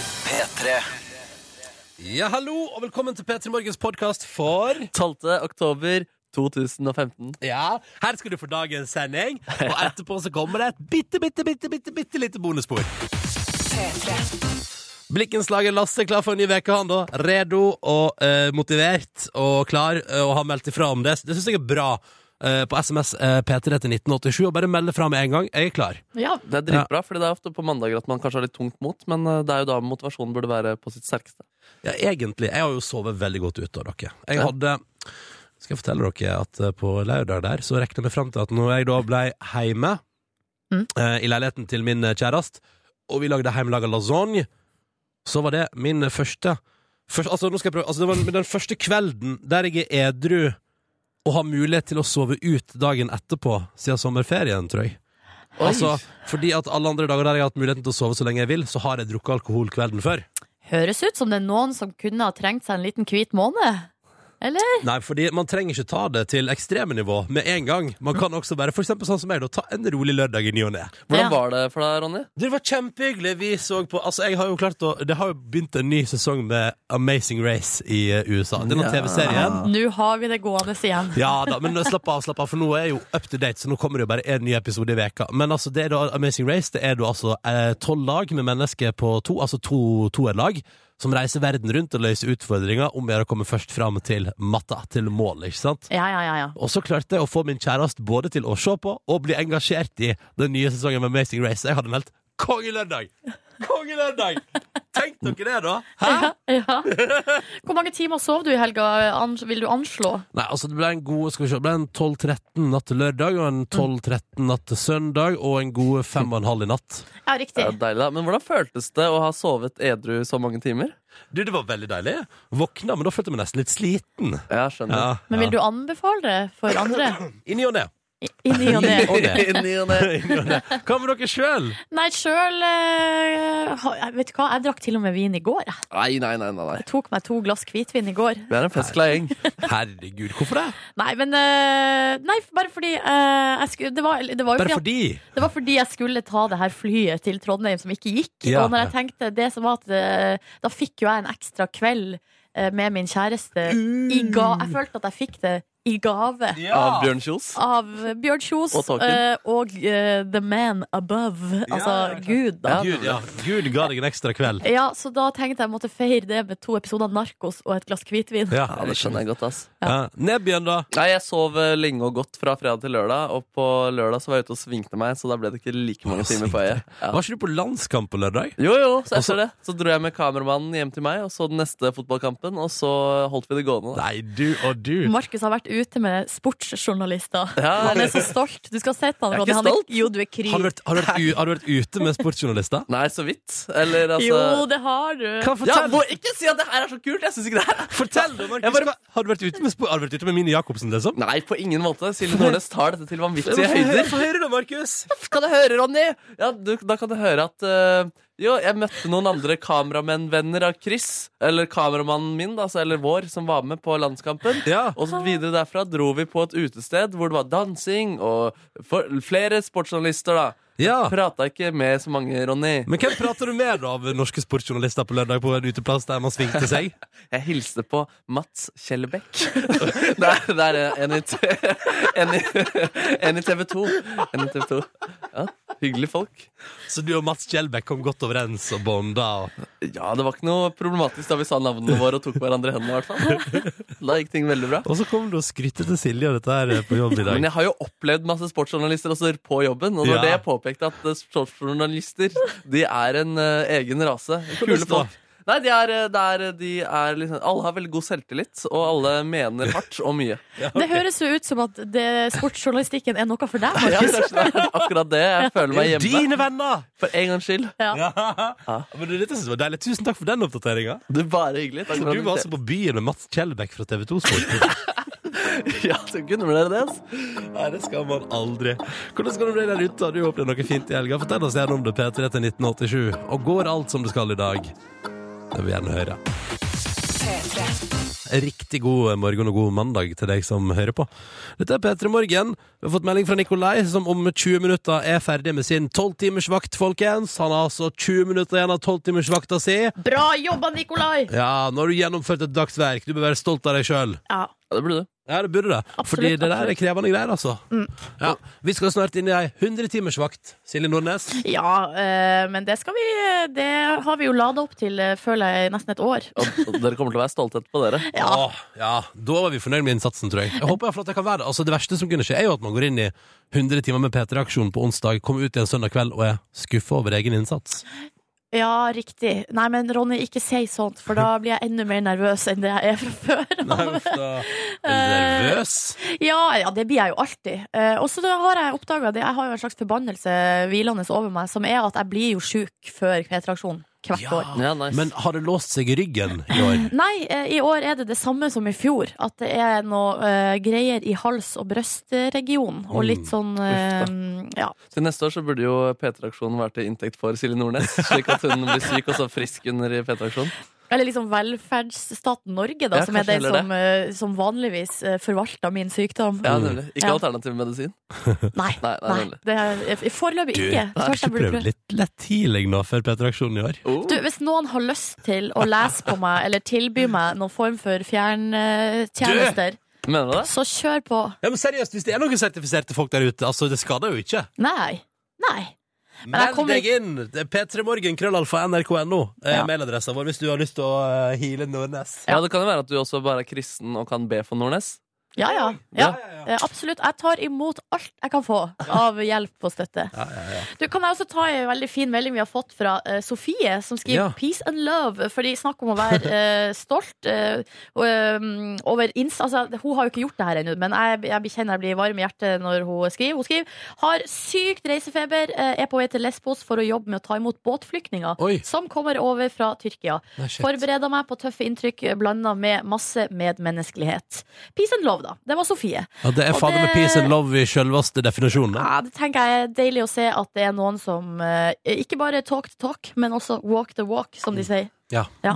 P3. Ja, hallo, og velkommen til P3 Morgens podkast for 12. oktober 2015. Ja, her skal du få dagens sending, og etterpå så kommer det et bitte, bitte, bitte, bitte, bitte lite bonusspor. Blikkenslager Lasse klar for en ny uke, han da. Redo og eh, motivert og klar, eh, og har meldt ifra om det. Det syns jeg er bra. eh, på SMS eh, P3 til 1987, og bare melde fra med en gang. Jeg er klar. Ja, Det er dritbra, fordi det er ofte på mandager at man kanskje har litt tungt mot, men eh, det er jo da motivasjonen burde være på sitt sterkeste. Ja, egentlig. Jeg har jo sovet veldig godt ute av dere. Jeg Ja. hadde Skal jeg fortelle dere at eh, på lørdag der så rekna vi fram til at når jeg da ble hjemme Mm. eh, i leiligheten til min kjæreste, og vi lagde hjemmelaga lasagne, så var det min eh, første, først- Altså, nå skal jeg prøve altså, Det var den første kvelden der jeg er edru og har mulighet til å sove ut dagen etterpå, siden sommerferien, tror jeg. Altså, fordi at alle andre dager der jeg har hatt muligheten til å sove så lenge jeg vil, så har jeg drukket alkohol kvelden før. Høres ut som det er noen som kunne ha trengt seg en liten hvit måned. Eller? Nei, fordi man trenger ikke ta det til ekstreme nivå med en gang. Man kan også være for eksempel sånn som meg, da, ta en rolig lørdag i ny og ne. Hvordan Ja. var det for deg, Ronny? Det var kjempehyggelig. Vi så på Altså, jeg har jo klart å Det har jo begynt en ny sesong med Amazing Race i eh, USA. Det er noen Ja. TV-serien. Nå har vi det gående igjen. Ja da, men slapp av, slapp av, for nå er jeg jo up to date, så nå kommer det jo bare en ny episode i veka. Men altså, det er da Amazing Race, det er da altså tolv lag med mennesker på to, altså to toerlag, som reiser verden rundt og løser utfordringer om å gjøre å komme først fram til matta, til målet, ikke sant? Ja, ja, ja. ja. Og så klarte jeg å få min kjæreste både til å se på og bli engasjert i den nye sesongen med Amazing Race. Jeg hadde en helt kongelørdag! Kongelørdag! Tenk dere det, da! Hæ? Ja. Hvor mange timer sov du i helga, ans- vil du anslå? Nei, altså Det ble en god skal vi se, det ble en 12-13 natt til lørdag og en 12-13 natt til søndag og en god fem og en halv i natt. Ja, riktig. Ja, deilig, da. Men hvordan føltes det å ha sovet edru så mange timer? Du, Det var veldig deilig. Våkna, men da følte jeg meg nesten litt sliten. Ja, jeg skjønner. Ja, Men vil ja. du anbefale det for andre? I ny og ne. I- I ny og ne. Og det. Ny og ne. I ny og ne. Hva med dere sjøl? Nei, sjøl eh, ha- jeg Vet du hva, jeg drakk til og med vin i går. jeg. Nei, nei, nei, nei, nei. Jeg tok meg to glass hvitvin i går. Vi er en festglad gjeng. Herregud, hvorfor det? Nei, men eh, Nei, bare fordi eh, jeg skulle, det, var, det, var jo Bare fordi at, fordi? det var fordi jeg skulle ta det her flyet til Trondheim som ikke gikk. Ja, og når jeg tenkte det som var at eh, Da fikk jo jeg en ekstra kveld eh, med min kjæreste. I Mm. ga, jeg følte at jeg fikk det i gave. Av Bjørn Kjos. Av Bjørn Kjos Og Tolkien. eh, og eh, The Man Above. Altså ja, ja. Gud, da. Gud, ja. Gud ga deg en ekstra kveld. Ja, så da tenkte jeg måtte feire det med to episoder Narkos og et glass hvitvin. Ja, Ja, det skjønner jeg godt, ass. Ja. Nebjørn, da? Nei, jeg sov eh, lenge og godt fra fredag til lørdag, og på lørdag så var jeg ute og svingte meg, så da ble det ikke like mange timer på øyet. Ja. Var ikke du på landskamp på lørdag? Jo, jo, så Og så- etter det så dro jeg med kameramannen hjem til meg, og så den neste fotballkampen, og så holdt vi det gående. da. Nei, du og du. Markus har vært ute med sportsjournalister. Ja. Han er så stolt. Du skal ha sett han, Jeg er Ronny. ikke Han er, stolt. jo, du er kry. Har du vært, har du vært, u- har du vært ute med sportsjournalister? Nei, så vidt. Eller altså Jo, det har du. Hva ja, fortell? må ikke si at det her er så kult! Jeg syns ikke det her er Fortell det, Markus. Jeg bare- Hva- Har du vært ute med, spo- har du vært ute med Mini Jacobsen, liksom? Nei, på ingen måte. Silje Nordnes tar dette til vanvittige høyder. Få høre det, Markus. Kan du høre, Ronny? Ja, du, Da kan du høre at eh, Jo, jeg møtte noen andre kameramennvenner av Chris. Eller kameramannen min, da, altså, eller vår, som var med på landskampen. Ja. Og så videre derfra dro vi på et utested hvor det var dansing og for, flere sportsjournalister, da. ja. Prata ikke med så mange, Ronny. Men hvem prater du med da av norske sportsjournalister på lørdag på en uteplass der man svingte seg? Jeg hilste på Mats Kjellbekk. det, er, det er en i, t- en i, en i TV 2. En i TV 2. Ja, hyggelige folk. Så du og Mats Kjellbekk kom godt overens og bonda og Ja, det var ikke noe problematisk da vi sa navnene våre og tok hverandre i hendene. i hvert fall. Da gikk ting veldig bra. Og så kom du og skrytte til Silje og dette her på jobb i Men dag. jeg har jo opplevd masse sportsjournalister også på jobben. Og det var Ja. det jeg påpekte, at eh, sportsjournalister de er en eh, egen rase. Kule står folk. Nei, de er, eh, det er, de er liksom, Alle har veldig god selvtillit, og alle mener hardt og mye. Det høres jo ut som at det, sportsjournalistikken er noe for deg. Ja, kanskje det er akkurat det. Jeg føler meg Det er jo hjemme. Dine venner! For en gangs skyld. Ja. Men du, dette synes jeg var deilig. Tusen takk for den oppdateringa. Det er bare hyggelig. Takk for Du var at altså på byen med Mats Kjellbekk fra TV2 Sport. Ja, så kunne dere det. ass. Nei, det skal man aldri. Hvordan skal det bli der ute? Har du opplevd noe fint i helga? Fortell oss gjerne om det, P3 til 1987. Og går alt som det skal i dag? Det vil vi gjerne høre. P3. Riktig god morgen og god mandag til deg som hører på. Dette er P3 Morgen. Vi har fått melding fra Nikolai, som om 20 minutter er ferdig med sin 12-timersvakt, folkens. Han har altså 20 minutter igjen av 12-timersvakta si. Bra jobba, Nikolai! Ja, nå har du gjennomført et dagsverk. Du bør være stolt av deg sjøl. Ja. Ja, det burde du. Ja, det burde det. Absolutt, Fordi det der absolutt. Mm. er krevende greier, altså. Ja, vi skal snart inn i ei 100-timersvakt, Silje Nordnes. Ja, eh, men det skal vi Det har vi jo lada opp til, eh, føler jeg, nesten et år. Og og dere kommer til å være stolte etterpå, dere. Ja. Åh, ja, Da var vi fornøyd med innsatsen, tror jeg. Jeg håper i hvert fall at Det kan være det. altså, det verste som kunne skje, er jo at man går inn i 100 timer med P3-aksjonen på onsdag, kommer ut igjen søndag kveld og er skuffa over egen innsats. Ja, riktig. Nei, men Ronny, ikke si sånt, for da blir jeg enda mer nervøs enn det jeg er fra før. Nei, uff da. Er du Nervøs. Ja, ja, det blir jeg jo alltid. Eh, og så da har jeg oppdaga det. Jeg har jo en slags forbannelse hvilende over meg, som er at jeg blir jo sjuk før P-traksjonen hvert Ja. år. Ja, nice. Men har det låst seg i ryggen i år? Nei, eh, i år er det det samme som i fjor. At det er noe eh, greier i hals- og brystregionen. Og Mm. litt sånn eh, Ja. Til neste år så burde jo P3-aksjonen være til inntekt for Silje Nordnes, slik at hun blir syk og så frisk under i P3-aksjonen. Eller liksom velferdsstaten Norge, da, Ja, som er kanskje den heller som, eh, som vanligvis eh, forvalter min sykdom. Mm. Ja, nemlig. Ikke Ja. alternativ medisin. Nei. Nei, nei, nei, nemlig. det er eh, foreløpig Du, ikke. Har Først ikke jeg du burde prøve. prøvd litt lett tidlig nå før P3-aksjonen i år? Oh. Du, hvis noen har lyst til å lese på meg eller tilby meg noen form for fjerntjenester, Mener du det? så kjør på. Ja, men seriøst, Hvis det er noen sertifiserte folk der ute, altså, det skader jo ikke. Nei. Nei. Men jeg Meld kommer deg inn! Det er P3morgen, krøllalfa, nrk.no. Eh, Ja. Mailadressen vår hvis du har lyst til å eh, heale Nordnes. Ja. Det kan jo være at du også bare er kristen og kan be for Nordnes. Ja, ja. ja. Ja. Eh, Absolutt. Jeg tar imot alt jeg kan få av hjelp og støtte. Du, Kan jeg også ta en veldig fin melding vi har fått fra eh, Sofie, som skriver Ja. 'peace and love'? Fordi snakk om å være eh, stolt eh, og, eh, over inns... Altså, hun har jo ikke gjort det her ennå, men jeg, jeg blir- kjenner jeg blir varm i hjertet når hun skriver. Hun skriver 'har sykt reisefeber, eh, er på vei til Lesbos for å jobbe med å ta imot båtflyktninger Oi. som kommer over fra Tyrkia'. Nei, shit. Forbereda meg på tøffe inntrykk blanda med masse medmenneskelighet. Peace and love, da. Det var Sofie. Ja, det er Og fader med det- peace and love i sjølveste definisjonen. da. Ja, det tenker jeg er deilig å se at det er noen som eh, ikke bare talk the talk, men også walk the walk, som de sier. Ja. Ja.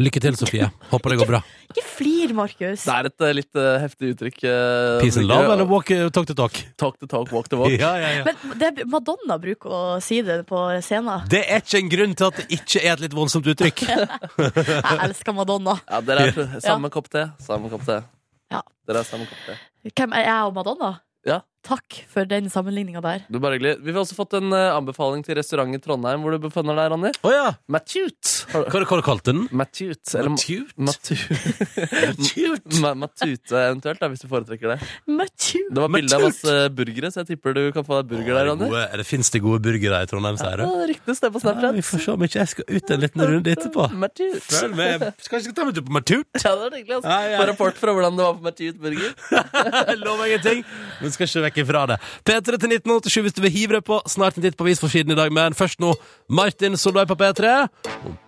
Lykke til, Sofie. Håper det går bra. Ikke flir, Markus. Det er et eh, litt eh, heftig uttrykk. eh, Peace and bruker- love eller walk, eh, talk to talk? Talk to talk, walk to walk. Ja, ja, ja. Men det, Madonna bruker å si det på scenen. Det er ikke en grunn til at det ikke er et litt voldsomt uttrykk. Jeg elsker Madonna. Ja, dere er samme kopp te. Samme kopp te. Ja. Dere er samme kopp te. Hvem er jeg og Madonna? Ja. Takk for den sammenligninga der. Du, bare hyggelig. Vi har også fått en eh, anbefaling til restaurant i Trondheim hvor du befinner deg, Ronny. Å ja! Matute. Har du- Hva, hva kalte du den? Matute. Eller ma- Matute? Matu- Matute? ma- Matute eventuelt, da, hvis du foretrekker det. Much you. Det var bilde av Matute. masse burgere, så jeg tipper du kan få deg burger der, Ronny. Gode, er det, finnes det gode burgere i Trondheim, sier Ja, du? det ryktes det på Ja, Snapchat. vi får se om ikke jeg skal ut en liten runde etterpå. Matute. Følg med. Skal ikke ta meg tur på Matute? Ja, det var hyggelig, altså. Ja, ja. Få rapport fra hvordan det var på Matute Burger. Jeg lover ingenting, men skal ikke vekk ifra det. P3 til 1987 hvis du vil hive deg på. Snart en titt på avisforsiden i dag, men først nå Martin Solveig på P3.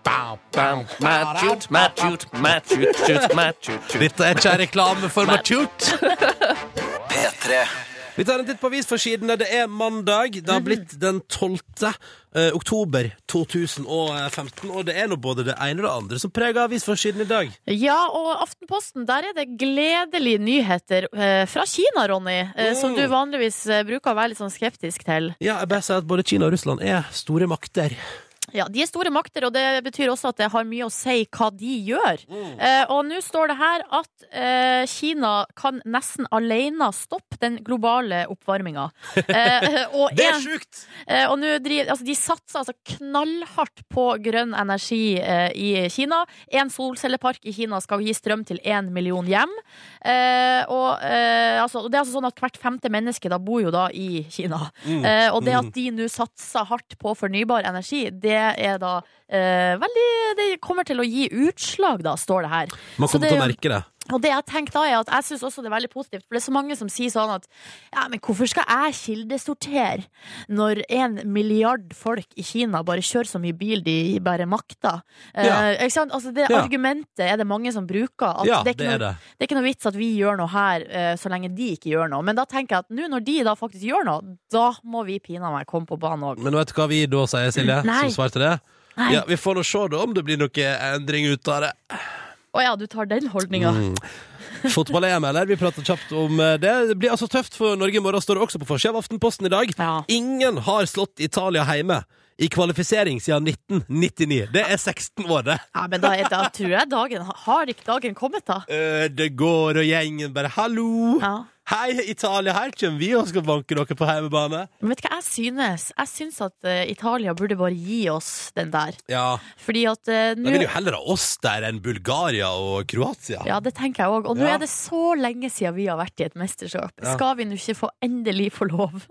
Bam, Matute, Matute, Matute, Matute, Matute. Dette er ikke en reklame for Matute. Vi tar en titt på avisforsidene. Det er mandag. Det har blitt den 12. eh, oktober 2015. Og det er nå både det ene og det andre som preger avisforsiden i dag. Ja, og Aftenposten, der er det gledelige nyheter eh, fra Kina, Ronny. eh, Som du vanligvis eh, bruker å være litt sånn skeptisk til. Ja, jeg bare sier at både Kina og Russland er store makter. Ja, De er store makter, og det betyr også at det har mye å si hva de gjør. Mm. Eh, og nå står det her at eh, Kina kan nesten alene stoppe den globale oppvarminga. Eh, og Det er en- sjukt! Eh, og nå driver, altså, de satser altså knallhardt på grønn energi eh, i Kina. En solcellepark i Kina skal gi strøm til én million hjem. Eh, og, eh, altså, og det er altså sånn at hvert femte menneske da bor jo da i Kina. Eh, og det at de nå satser hardt på fornybar energi, det er da eh, veldig Det kommer til å gi utslag, da, står det her. Man Så kommer det er til å jo- merke det. og det jeg tenker da er at jeg syns også det er veldig positivt. For det er så mange som sier sånn at ja, men hvorfor skal jeg kildesortere når en milliard folk i Kina bare kjører så mye bil de bare makter? Eh, Ja. ikke sant? Altså det Ja. argumentet er det mange som bruker. At Ja, det, er ikke det er noe, det. det er ikke noe vits at vi gjør noe her eh, så lenge de ikke gjør noe. Men da tenker jeg at nå når de da faktisk gjør noe, da må vi pinadø meg komme på banen òg. Men vet du hva vi da sier, Silje? Nei. Som svar til det? Nei. Ja, vi får nå se da om det blir noe endring ut av det. Å ja, du tar den holdninga. Mm. Fotball-EM, eller? Vi prater kjapt om eh, det. Det blir altså tøft for Norge i morgen, står det også på forsida av Aftenposten i dag. Ja. Ingen har slått Italia hjemme i kvalifisering siden 1999. Det er 16 år, det. ja, men da, er- da tror jeg dagen Har ikke dagen kommet, da? Eh, Det går, og gjengen bare 'hallo'. Ja. Hei, Italia, her kommer vi og skal banke dere på hjemmebane. Men vet du hva jeg synes? Jeg synes at eh, Italia burde bare gi oss den der. Ja, Fordi at eh, Da nå vil jo heller ha oss der enn Bulgaria og Kroatia. Ja, det tenker jeg òg. Og nå Ja. er det så lenge siden vi har vært i et mesterskap. Ja. Skal vi nå ikke få endelig få lov?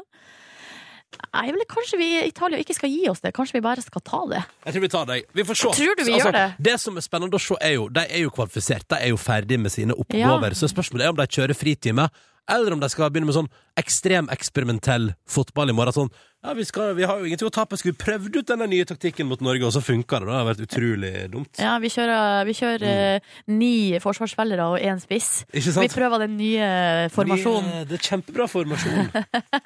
Nei, vel, kanskje vi i Italia ikke skal gi oss det. Kanskje vi bare skal ta det. Jeg tror vi tar deg. Vi får se. Altså, Tror du vi gjør det? som er spennende å se, er jo de er jo kvalifisert. De er jo ferdig med sine oppgaver. Ja. Så spørsmålet er om de kjører fritime, eller om de skal begynne med sånn ekstrem eksperimentell fotball i morgen. Sånn ja, vi, skal, vi har jo ingenting å tape. Skulle vi prøvd ut denne nye taktikken mot Norge, og så funka det? Det har vært utrolig dumt. Ja, Vi kjører, vi kjører eh, ni forsvarsspillere og én spiss. Mm. Ikke Vi sant? prøver den nye formasjonen. Vi, eh, Det er kjempebra formasjon.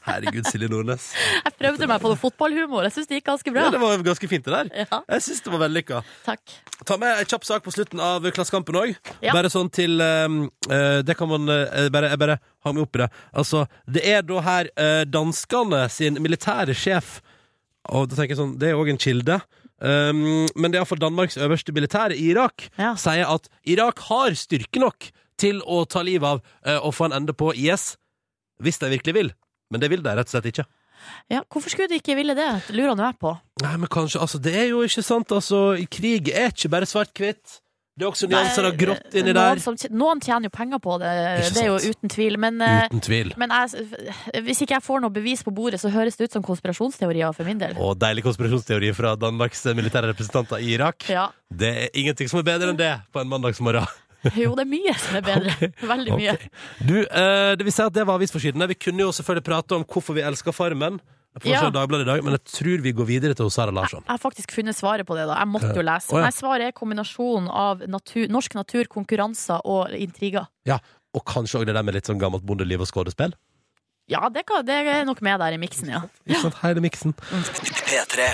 Herregud, Silje Nordnes. Jeg prøvde meg på noe fotballhumor. Jeg syns det gikk ganske bra. Ja, det var ganske fint, det der. Ja, Jeg syns det var vellykka. takk. Ta med en kjapp sak på slutten av Klassekampen òg. Ja. Bare sånn til ehm, eh, Det kan man eh, bare, Jeg bare har meg opp i det. Altså, det er da her eh, danskene sin militære sjef Og da tenker jeg sånn, det er òg en kilde. Ehm, men det er iallfall Danmarks øverste militære i Irak Ja. sier at Irak har styrke nok til å ta livet av eh, og få en ende på IS, hvis de virkelig vil. Men det vil de rett og slett ikke. Ja, hvorfor skulle de ikke ville det? Lurer nå jeg på. Nei, men kanskje, altså Det er jo ikke sant. altså Krig er ikke bare svart-hvitt. Det er også nyanser av grått inni eh, Noen, der. som, tj- noen tjener jo penger på det, Ikke det er jo sant. uten tvil. Men, eh, Uten tvil. men jeg, hvis ikke jeg får noe bevis på bordet, så høres det ut som konspirasjonsteorier for min del. Og deilig konspirasjonsteori fra Danmarks militære representanter i Irak. Ja. Det er ingenting som er bedre enn det på en mandagsmorgen. Jo, det er mye som er bedre. Veldig mye. Ok. Du, eh, det vil si at det var avisforsidene. Vi kunne jo selvfølgelig prate om hvorfor vi elsker Farmen, på Ja. ja. Dagbladet i dag, men jeg tror vi går videre til Sara Larsson. Jeg har faktisk funnet svaret på det. da Jeg måtte jo lese. Å, ja. Nei, svaret er kombinasjon av natur, norsk natur, konkurranser og intriger. Ja, Og kanskje òg det der med litt sånn gammelt bondeliv og skuespill. Ja, det, kan, det er nok med der i miksen, ja. Ikke sant? Hele miksen.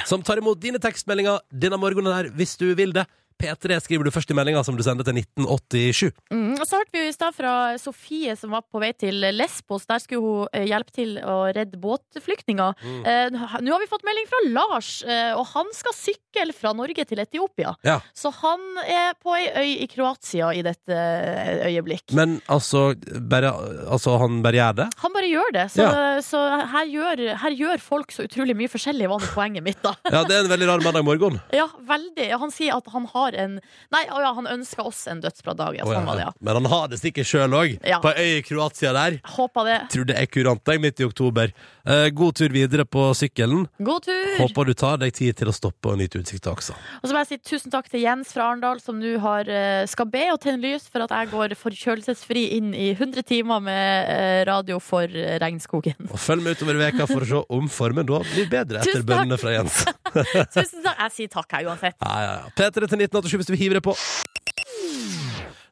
Som tar imot dine tekstmeldinger denne morgenen her, hvis du vil det. P3 skriver du først i meldinga som du sender til 1987. Mm, og så hørte vi jo i stad fra Sofie som var på vei til Lesbos. Der skulle hun eh, hjelpe til å redde båtflyktninger. Mm. Eh, Nå har vi fått melding fra Lars, eh, og han skal sykle fra Norge til Etiopia. Ja. Så han er på ei øy i Kroatia i dette eh, øyeblikk. Men altså, bare, altså han bare gjør det? han bare gjør det, så, så her, gjør, her gjør folk så utrolig mye forskjellig, var nå poenget mitt, da. Ja, det er en veldig rar mandag morgen. Ja, veldig. Ja, Han sier at han har en Nei, å ja, han ønsker oss en dødsbra dag. Ja, Å, ja, sånn var det, ja. ja. Men han har det sikkert sjøl òg. Ja. På ei øy i Kroatia der. Håper det. Tror det er kurant deg midt i oktober. Eh, god tur videre på sykkelen. God tur! Håper du tar deg tid til å stoppe og nyte utsikta også. Og så må jeg si tusen takk til Jens fra Arendal, som nå har eh, skal be og tenne lys for at jeg går forkjølelsesfri inn i 100 timer med eh, radio for eh, regnskogen. Og følg med utover veka for å se om formen da blir bedre etter Tusen takk. bønnene fra Jens. Tusen takk. Jeg sier takk, jeg, uansett. Ja, ja, ja. P3 til 1987 hvis du vil hive det på.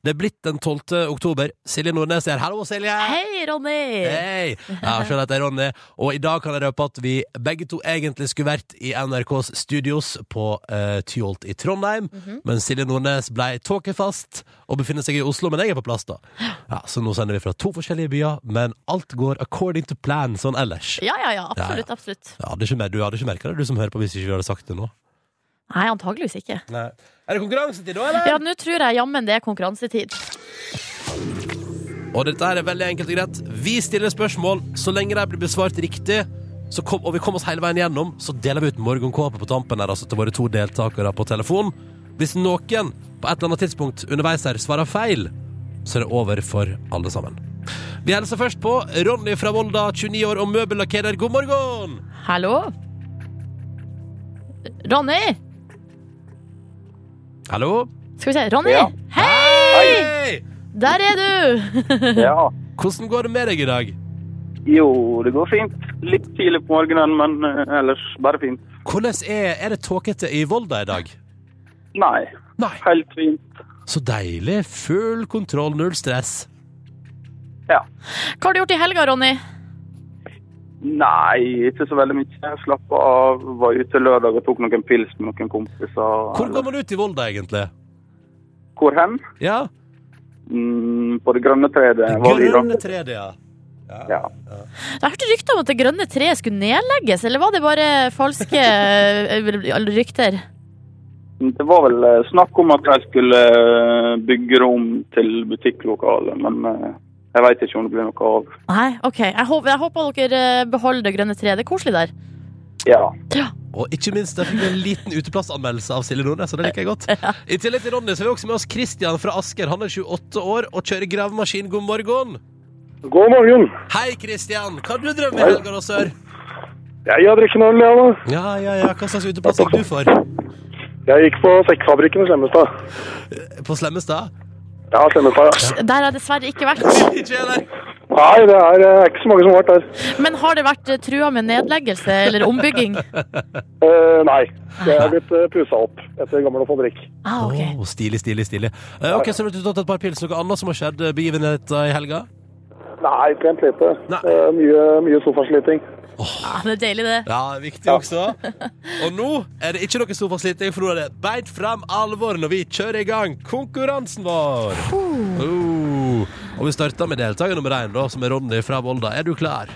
Det er blitt den 12. oktober. Silje Nordnes er her. Hallo, Silje! Hei, Ronny! Hei! Ja, skjønner at det er Ronny. Og i dag kan jeg røpe at vi begge to egentlig skulle vært i NRKs studios på eh, Tyholt i Trondheim, Mhm. men Silje Nordnes ble tåkefast og befinner seg i Oslo, men jeg er på plass da. Ja, så nå sender vi fra to forskjellige byer, men alt går according to plan sånn ellers. Ja, ja, ja. Absolutt. absolutt. Ja, hadde ikke mer- du hadde ikke merka det, du som hører på, hvis ikke vi hadde sagt det nå. Nei, antageligvis ikke. Nei. Er det konkurransetid da, eller? Ja, nå tror jeg jammen det er konkurransetid. Og dette her er veldig enkelt og greit. Vi stiller spørsmål. Så lenge de blir besvart riktig, så kom, og vi kom oss hele veien gjennom, så deler vi ut morgenkåpe på tampen her, altså til våre to deltakere på telefon. Hvis noen på et eller annet tidspunkt underveis her svarer feil, så er det over for alle sammen. Vi hilser først på Ronny fra Volda, 29 år og møbellakkerer. God morgen! Hallo? Ronny? Hallo? Skal vi se. Ronny! Ja. Hei! Hei! Der er du! Ja. Hvordan går det med deg i dag? Jo, det går fint. Litt tidlig på morgenen, men eh, ellers bare fint. Hvordan er, er det tåkete i Volda i dag? Nei, Nei. helt fint. Så deilig. Full kontroll, null stress. Hva har du gjort i helga, Ronny? Nei, ikke så veldig mye. Jeg slapp av, var ute lørdag og tok noen pils med noen kompiser. Hvor går man ut i Volda, egentlig? Hvor hen? Ja. Mm, på det grønne treet. Det var vi da. grønne treet, ja. Ja. Jeg hørte rykter om at det grønne treet skulle nedlegges, eller var det bare falske eh, rykter? Det var vel eh, snakk om at de skulle eh, bygge rom til butikklokale, men eh, jeg veit ikke om det blir noe av. Nei, OK. Jeg håper, jeg håper dere eh, beholder det grønne treet. Det er koselig der. Ja. Og ikke minst, der fikk vi en liten uteplassanmeldelse av Silje Nordnes, og det liker jeg godt. I tillegg til Ronny så har vi også med oss Christian fra Asker. Han er 28 år og kjører gravemaskin. God morgen. God morgen. Hei, Christian. Hva har du drømmer i helga, da, sør? Jeg har drukket en øl, jeg da. Ja, ja, ja. Hva slags uteplass gikk du for? Jeg gikk på Sekkfabrikken i Slemmestad. På Slemmestad? Ja, Slemmestad. ja. Der har jeg dessverre ikke vært. Ikke jeg der. Nei, det er eh, ikke så mange som har vært der. Men har det vært eh, trua med nedleggelse eller ombygging? Eh, nei. Jeg er blitt uh, pusa opp etter gammel fabrikk. Ah, ok. Å, stilig, stilig, stilig. Eh, ok, så har du tatt et par pils. Noe annet som har skjedd? eh, Begivenheter i helga? Nei, pent lite. Nei. Eh, mye, mye sofasliting. Ah, det er deilig, det. Ja, viktig også. Og nå er det ikke noe stor fasilitet, for nå er det beint fram alvor når vi kjører i gang konkurransen vår. Oh. Og vi starter med deltaker nummer én, da, som er Ronny fra Volda. Er du klar?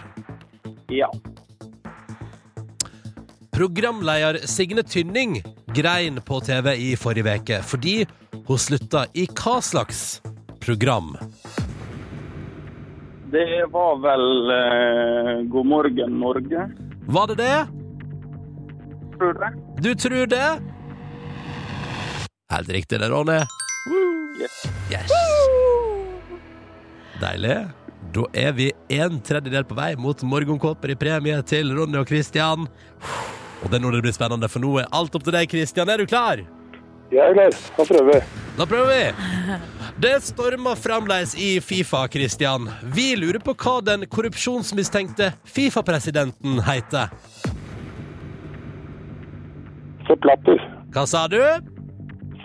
ja. Programleder Signe Tynning grein på TV i forrige uke fordi hun slutta i hva slags program? Det var vel eh, God morgen, Norge, Var det det? tror jeg. Du tror det? Helt riktig det, Ronny. Yes. Deilig. Da er vi en tredjedel på vei mot morgenkåper i premie til Ronny og Kristian. Og det er nå det blir spennende, for nå er alt opp til deg, Kristian. Er du klar? Jeg er klar. Da prøver vi. Da prøver vi. Det stormer fremdeles i Fifa, Kristian. Vi lurer på hva den korrupsjonsmistenkte Fifa-presidenten heter. Sepp Latter. Hva sa du?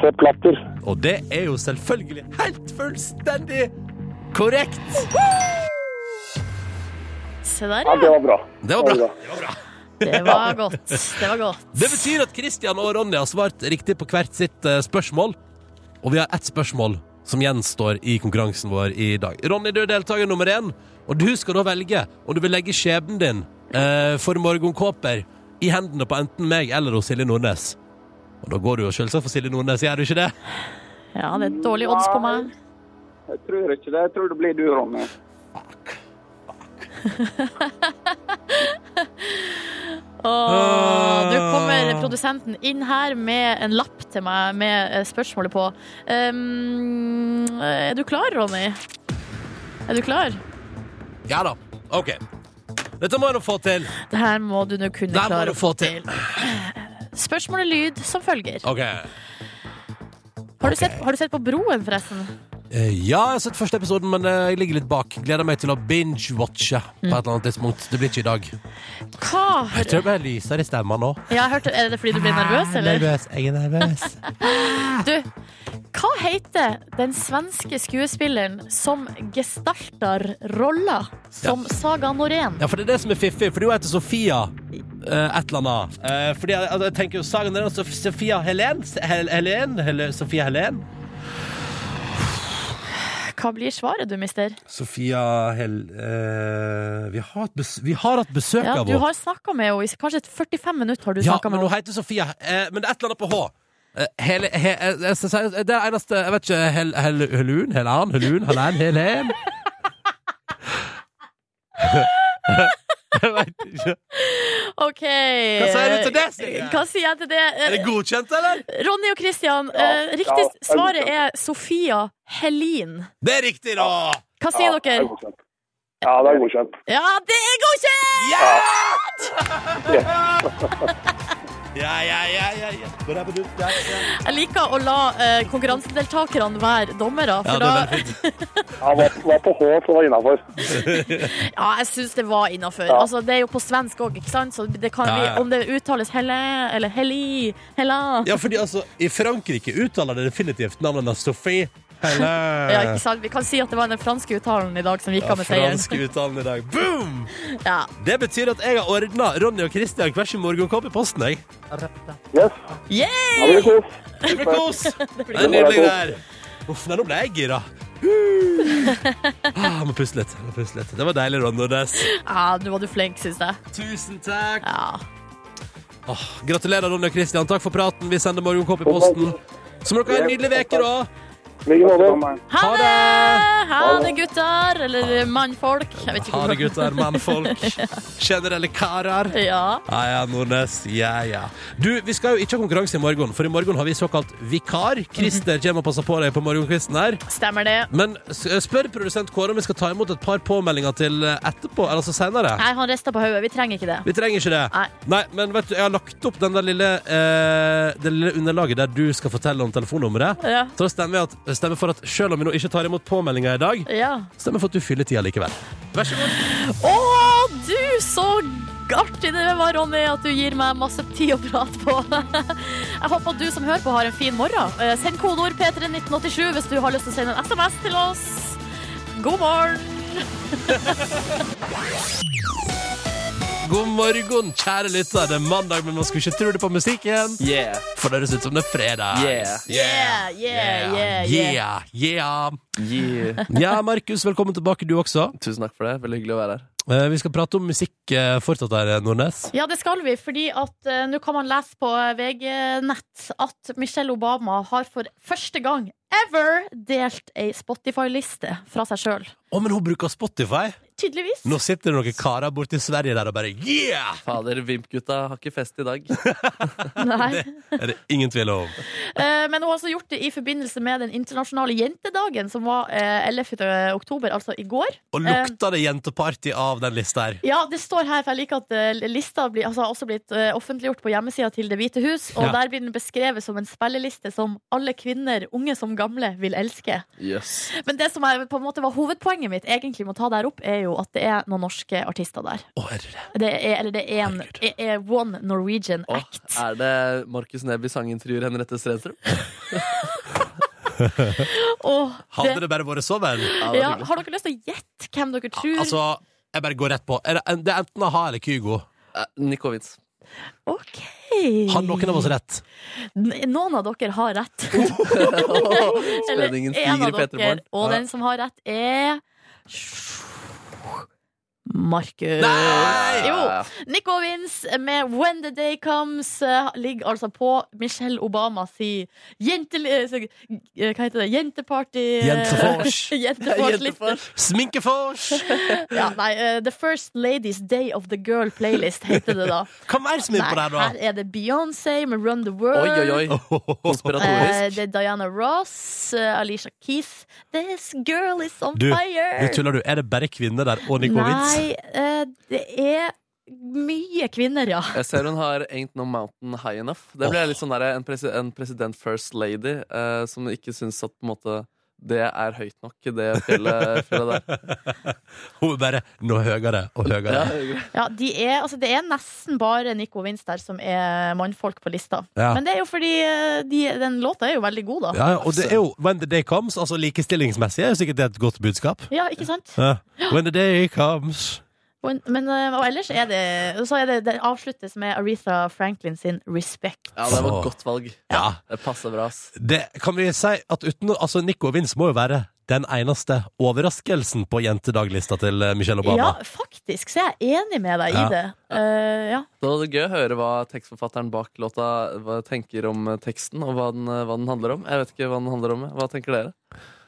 Sepp Latter. Og det er jo selvfølgelig helt fullstendig korrekt. Se der, Ja, det ja. var bra. Det var bra. Det var godt. Det var godt. Det betyr at Kristian og Ronny har svart riktig på hvert sitt eh, spørsmål. Og vi har ett spørsmål som gjenstår i konkurransen vår i dag. Ronny, du er deltaker nummer én, og du skal da velge om du vil legge skjebnen din eh, for morgenkåper i hendene på enten meg eller hos Silje Nordnes. Og da går du jo selvsagt for Silje Nordnes, gjør du ikke det? Ja, det er dårlige odds på meg. Jeg tror ikke det. Jeg tror det blir du, Ronny. Åh, nå kommer produsenten inn her med en lapp til meg med eh, spørsmålet på. Um, er du klar, Ronny? Er du klar? Ja da. OK. Dette må jeg nå få til. Det her må du nå kunne Det her må klare du få til. Spørsmålet lyd som følger. OK. Har du, sett, har du sett på Broen, forresten? Eh, ja, jeg har sett første episoden, men eh, jeg ligger litt bak. Gleder meg til å binge-watche på et eller annet tidspunkt. Det blir ikke i dag. Hva Jeg tror jeg ble lysere i stemmen nå. Ja, jeg hørte, Er det fordi du blir nervøs, eller? Jeg er nervøs. Du, hva heter den svenske skuespilleren som gestalter rolla som Saga Norén? Ja, for det er det som er fiffig, for du heter Sofia eh, et eller annet. Eh, fordi jeg, altså, jeg tenker jo sagen der, Sof Sofia Helen S- Hel Helen? Hel Sofia Helen? Hva blir svaret, du, mister? Sofia Hel... eh, vi, har hatt bes- vi har hatt besøk Ja, av du henne. har snakka med henne i kanskje 45 minutter. har du Ja, snakket men med hun henne. heter Sofia eh, Men det er et eller annet på H. Eh, Hele, he, eh, jeg skal si- det er eneste Jeg vet ikke hel, hel, Helun? Helan? Helun? Helen? Helen? jeg veit ikke. Ok. Hva sier du til det, Sigrid? Hva sier jeg til det? Er det godkjent, eller? Ronny og Christian, eh, ja, riktig jeg er svaret godkjent. er Sofia Helin. Det er riktig, da! Hva sier Ja, det er dere? godkjent. Ja, det er godkjent. Ja, det er godkjent! Ja, ja, ja, ja, ja. Bare på dutt, ja, ja. Jeg liker å la eh, konkurransedeltakerne være dommere. Ja, For det da, er veldig fint. Ja, var, var på H, så det var innafor. ja, jeg syns det var innafor. Altså, det er jo på svensk òg, ikke sant? Så det kan Ja, bli, ja. om det uttales Helle eller Heli Hella Ja, fordi altså, i Frankrike uttaler det definitivt navnet hennes Sophie. Hele. ja, ikke sant? Vi kan si at det var den franske uttalen i dag som gikk av med seieren. fransk uttalen i dag. Boom! Ja. Det betyr at jeg har ordna Ronny og Christian hver sin morgenkopp i posten. Jeg. Yes. Yeah! Ja, det blir kos. Det blir kos! Det er nydelig der. Uff, nei, nå ble jeg gira. Uh. Ah, jeg må puste litt. jeg Må puste litt. Det var deilig, Rondones. Ja, nå var du flink, syns jeg. Tusen takk. Ja. Åh, gratulerer, Ronny og Christian. Takk for praten. Vi sender morgenkopp i posten. Så må dere ha en nydelig uke, da. I like måte. Ha Ha det! det! Ha det, gutter. Eller mannfolk. Jeg vet ikke Ha det, hvordan- gutter. Mannfolk. Generelle karer. Ja. Ja, ja, Nordnes. Ja, ja. Du, vi skal jo ikke ha konkurranse i morgen, for i morgen har vi såkalt vikar. Christer kommer og passer på deg på morgenkvisten her. Stemmer det. Men s- eh, spør produsent Kåre om vi skal ta imot et par påmeldinger til etterpå, eller altså senere. Nei, han rista på hodet. Vi trenger ikke det. Vi trenger ikke det. Nei. men vet du, jeg har lagt opp den der lille, eh, det lille underlaget der du skal fortelle om telefonnummeret. Ja. Så da stemmer, jeg at, stemmer for at selv om vi nå ikke tar imot påmeldinger i dag, ja. stemmer for at du fyller tida likevel. Vær så god. Å, du, så artig det var, Ronny, at du gir meg masse tid å prate på. Jeg håper at du som hører på, har en fin morgen. Eh, Send kodeord P31987 hvis du har lyst til å sende en SMS til oss. God morgen. God morgen, kjære lytter. Det er mandag, men man skulle ikke tro det på musikken. Yeah. For det høres ut som det er fredag. Yeah. Yeah, yeah, yeah, yeah, yeah. yeah. Ja, Markus, velkommen tilbake, du også. Tusen takk for det. Veldig hyggelig å være her. Eh, vi skal prate om musikk eh, fortsatt her, Nordnes. Ja, det skal vi, fordi at eh, nå kan man lese på eh, VG-nett at Michelle Obama har for første gang ever delt ei Spotify-liste fra seg sjøl. Å, men hun bruker Spotify! Tydeligvis. Nå sitter det noen karer borte i Sverige der og bare yeah! Fader, Vimp-gutta har ikke fest i dag. Nei. Er det ingen tvil om. Eh, Men hun har også gjort det i forbindelse med den internasjonale jentedagen, som var eh, 11. oktober, altså i går. Og lukta det jenteparty av den lista her? Ja, det står her, for jeg liker at eh, lista blir, altså, har også blitt eh, offentliggjort på hjemmesida til Det hvite hus, og Ja. der blir den beskrevet som en spilleliste som alle kvinner, unge som gamle, vil elske. Yes. Men det som er, på en måte var hovedpoenget mitt egentlig med å ta det her opp, er jo at det er noen norske artister der. Å, herre. Det er, eller det er en Herregud. er- er One Norwegian Å, Act. er det Markus Neby sangintervjuer Henriette Strenstrøm? Og Hadde det bare vært så vel? Ja, det er ja, hyggelig. har dere lyst til å gjette hvem dere tror? Altså, jeg bare går rett på. Er det, det er enten a-ha eller Kygo. Eh, Nikowitz. OK. Har noen av oss rett? N- Noen av dere har rett. Eller Spenningen en stiger i av dere. Petermorgen. Og den som har rett, er Markus. Ah. Nei! Jo. Nico Wins med 'When the Day Comes' eh, ligger altså på Michelle Obama si jente... eh, så- eh, Hva heter det? Jenteparty Jentefors. Jentefors-liste. Sminkefors! Ja, nei, eh, The First Ladies Day of the Girl playlist heter det da. Hva mer som er på Nei, der, da? her er det Beyoncé med 'Run the World'. Oi, oi, oi. Eh, Konspiratorisk. det er Diana Ross, eh, Alicia Keys. This girl is on Du, Nå fire! tuller du. Er det bare kvinner der og Nikowitz? Eh. Nei, eh, det er mye kvinner, ja. Jeg ser hun har Ain't No Mountain High Enough. Det ble litt sånn der, en, presi en president first lady eh, som ikke syns at på en måte, det er høyt nok, det fjellet, fjellet der. Hun vil bare nå høyere og høyere. Ja, ja de er, altså, det er nesten bare Nico Vince der som er mannfolk på lista. Ja. Men det er jo fordi eh, de, den låta er jo veldig god, da. Ja, ja, og det er jo When the day comes, altså likestillingsmessig, er jo sikkert det et godt budskap. Ja, ikke sant? Ja. When the day comes Men, men, eh, og ellers er det Så er det, det avsluttes med Aretha Franklin sin 'Respect'. ja det var et godt valg. Ja. Det passer bra, ass. Det kan vi si at uten Altså, Nico og Vince må jo være den eneste overraskelsen på jentedaglista til eh, Michelle Ja, Obama. faktisk, så jeg er enig med deg Ja. i det. Eh, ja. Det var gøy å høre hva tekstforfatteren bak låta hva tenker om eh, teksten, og hva den, eh, hva den handler om. Jeg vet ikke hva den handler om. jeg. Hva tenker dere?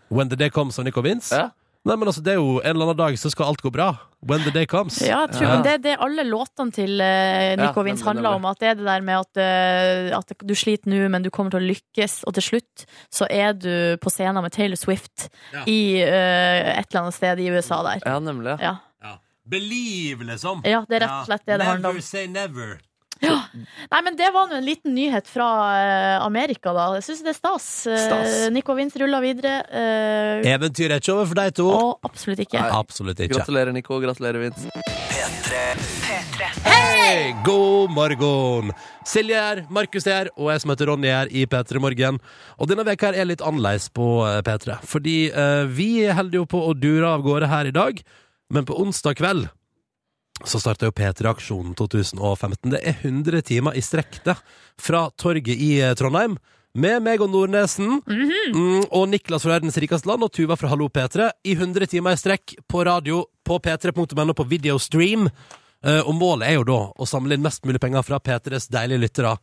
When the day comes av Nico og Vince. Ja. Nei, men altså, det er jo en eller annen dag så skal alt gå bra. When the day comes. Ja, jeg tror Ja. det er det alle låtene til eh, Nico Ja, Vince nemlig, handler om. At det er det der med at, eh, at du sliter nå, men du kommer til å lykkes. Og til slutt så er du på scenen med Taylor Swift Ja. i eh, et eller annet sted i USA der. Ja, nemlig. Ja. Ja. Ja. Believe, liksom. ja, det er rett og slett det det handler om. say never. Nei, men det var nå en liten nyhet fra eh, Amerika, da. Jeg syns det er stas. Eh, Stas. Nico Vince ruller videre. eh, Eventyret er ikke over for deg to. og absolutt ikke. Absolutt ikke. Gratulerer, Nico. Gratulerer, Vince. Hei, god morgen! Silje er her, Markus er her, og jeg som heter Ronny er her i P3 Morgen. Og denne veka her er litt annerledes på eh, P3, fordi eh, vi holder jo på å dure av gårde her i dag, men på onsdag kveld så starta jo P3-aksjonen 2015. Det er 100 timer i strekk, det, fra torget i eh, Trondheim med meg og Nordnesen mm, og Niklas fra Verdens rikeste land og Tuva fra Hallo P3 i 100 timer i strekk på radio på p3.no på videostream. Eh, og målet er jo da å samle inn mest mulig penger fra P3s deilige lyttere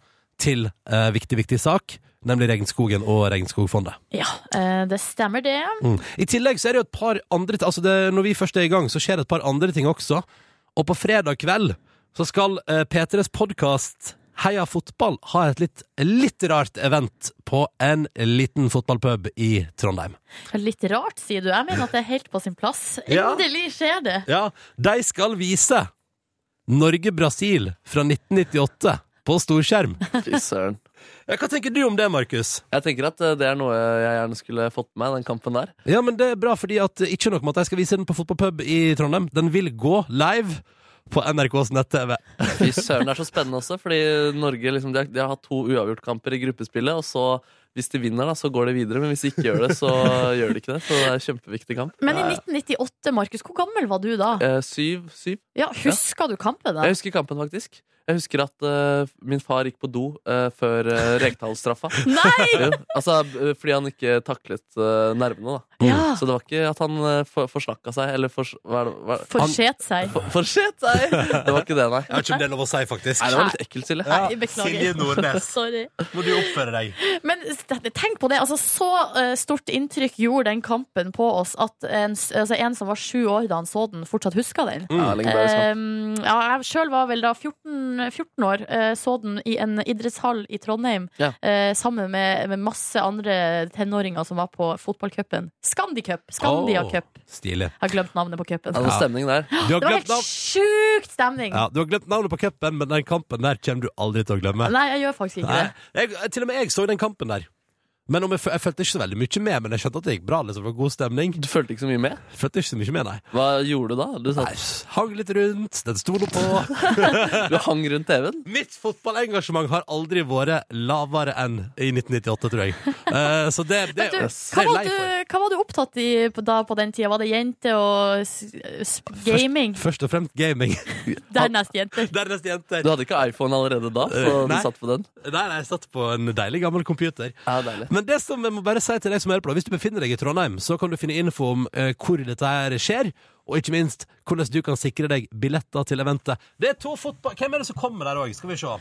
til eh, viktig, viktig sak, nemlig Regnskogen og Regnskogfondet. Ja, eh, det stemmer det. Mm. I tillegg så er det jo et par andre altså det, Når vi først er i gang, så skjer det et par andre ting også. Og på fredag kveld så skal eh, P3s podkast Heia fotball ha et litt, litt rart event på en liten fotballpub i Trondheim. Litt rart, sier du. Jeg mener at det er helt på sin plass. Ja. Endelig skjer det. Ja, De skal vise Norge-Brasil fra 1998 på storskjerm. Fy søren. Ja, Hva tenker du om det, Markus? Jeg tenker at eh, det er noe jeg gjerne skulle fått med meg, den kampen der. Ja, men det er bra, fordi at eh, ikke nok med at jeg skal vise den på fotballpub i Trondheim. Den vil gå live på NRKs nett-TV. Fy søren, det er så spennende også, fordi Norge liksom, de har, de har hatt to uavgjortkamper i gruppespillet, og så hvis de vinner, da, så går de videre, men hvis de ikke gjør det, så gjør de ikke det. Så det er en kjempeviktig kamp. Men i 1998, Markus, hvor gammel var du da? Eh, syv, syv. Ja, Husker du kampen da? Jeg husker kampen, faktisk. Jeg husker at eh, min far gikk på do eh, før uh, Rekdal-straffa. Nei! Jo, altså, eh, fordi han ikke taklet eh, nervene, da. Ja, Så det var ikke at han uh, for, forsnakka seg, eller for, hva er det, hva, er det? Forsett seg. for, Forsett seg! Det var ikke det, nei. Jeg vet ikke om det er lov å si, faktisk. Nei, det var litt ekkelt, Silje. Nei, beklager. Nordnes, Sorry. må du oppføre deg. Men s- tenk på det. Altså, så eh, stort inntrykk gjorde den kampen på oss at en, s- altså, en som var sju år da han så den, fortsatt husker den. Ja, Lingberg, sant. Um, ja, jeg sjøl var vel da 14, 14 år. eh, så den i en idrettshall i Trondheim Ja. eh, sammen med, med masse andre tenåringer som var på fotballcupen. Scandicup! Scandia Åh. Cup. Stilig. Jeg har glemt navnet på Ja, cupen. det var stemning der. Du har Det var glemt, helt navn... sjukt stemning! ja, du har glemt navnet på cupen, men den kampen der kommer du aldri til å glemme. Nei, jeg gjør faktisk ikke Nei. det. Jeg, til og med jeg så den kampen der. Men om jeg, føl- jeg følte ikke så veldig mye med, men jeg skjønte at det gikk bra. Liksom. Det var god stemning. Du følte ikke så mye med? Følte ikke så mye med, nei. Hva gjorde du da? Du, nei. satt, Hang litt rundt, den sto nå på. du hang rundt TV-en? Mitt fotballengasjement har aldri vært lavere enn i 1998, tror jeg. Eh, så det, det, Du, det hva, er jeg var lei du, for. hva var du opptatt i på- da på den tida? Var det jenter og s- s- gaming? Først og fremst gaming. Dernest jenter. Dernest jenter. Du hadde ikke iPhone allerede da? Så Eh, du nei. satt på den? Nei, nei, jeg satt på en deilig gammel computer. Ja, deilig. Men det som jeg må bare si til deg som hører på, da, hvis du befinner deg i Trondheim, så kan du finne info om eh, hvor dette her skjer, og ikke minst hvordan du kan sikre deg billetter til eventet. Det er to fotball... Hvem er det som kommer der òg? Skal vi se.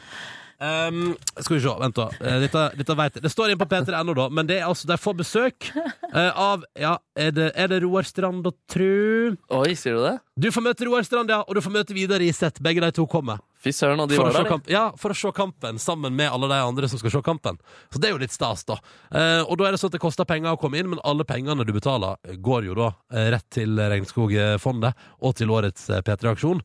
Ehm, skal vi se, vent da. Eh, Dette, dette vet jeg. Det står inn på p3.no, da, men det er altså, de får besøk eh, av Ja, er det, er det Roar Strand og Tru? Oi, sier du det? Du får møte Roar Strand, ja, og du får møte Vidar Iseth. Begge de to kommer. Fy søren, og de For å, var se der. de. kamp, ja, for å se kampen sammen med alle de andre som skal se kampen. Så det er jo litt stas, da. Eh, og da er det sånn at det koster penger å komme inn, men alle pengene du betaler, går jo da eh, rett til Regnskogfondet og til årets eh, P3-aksjon.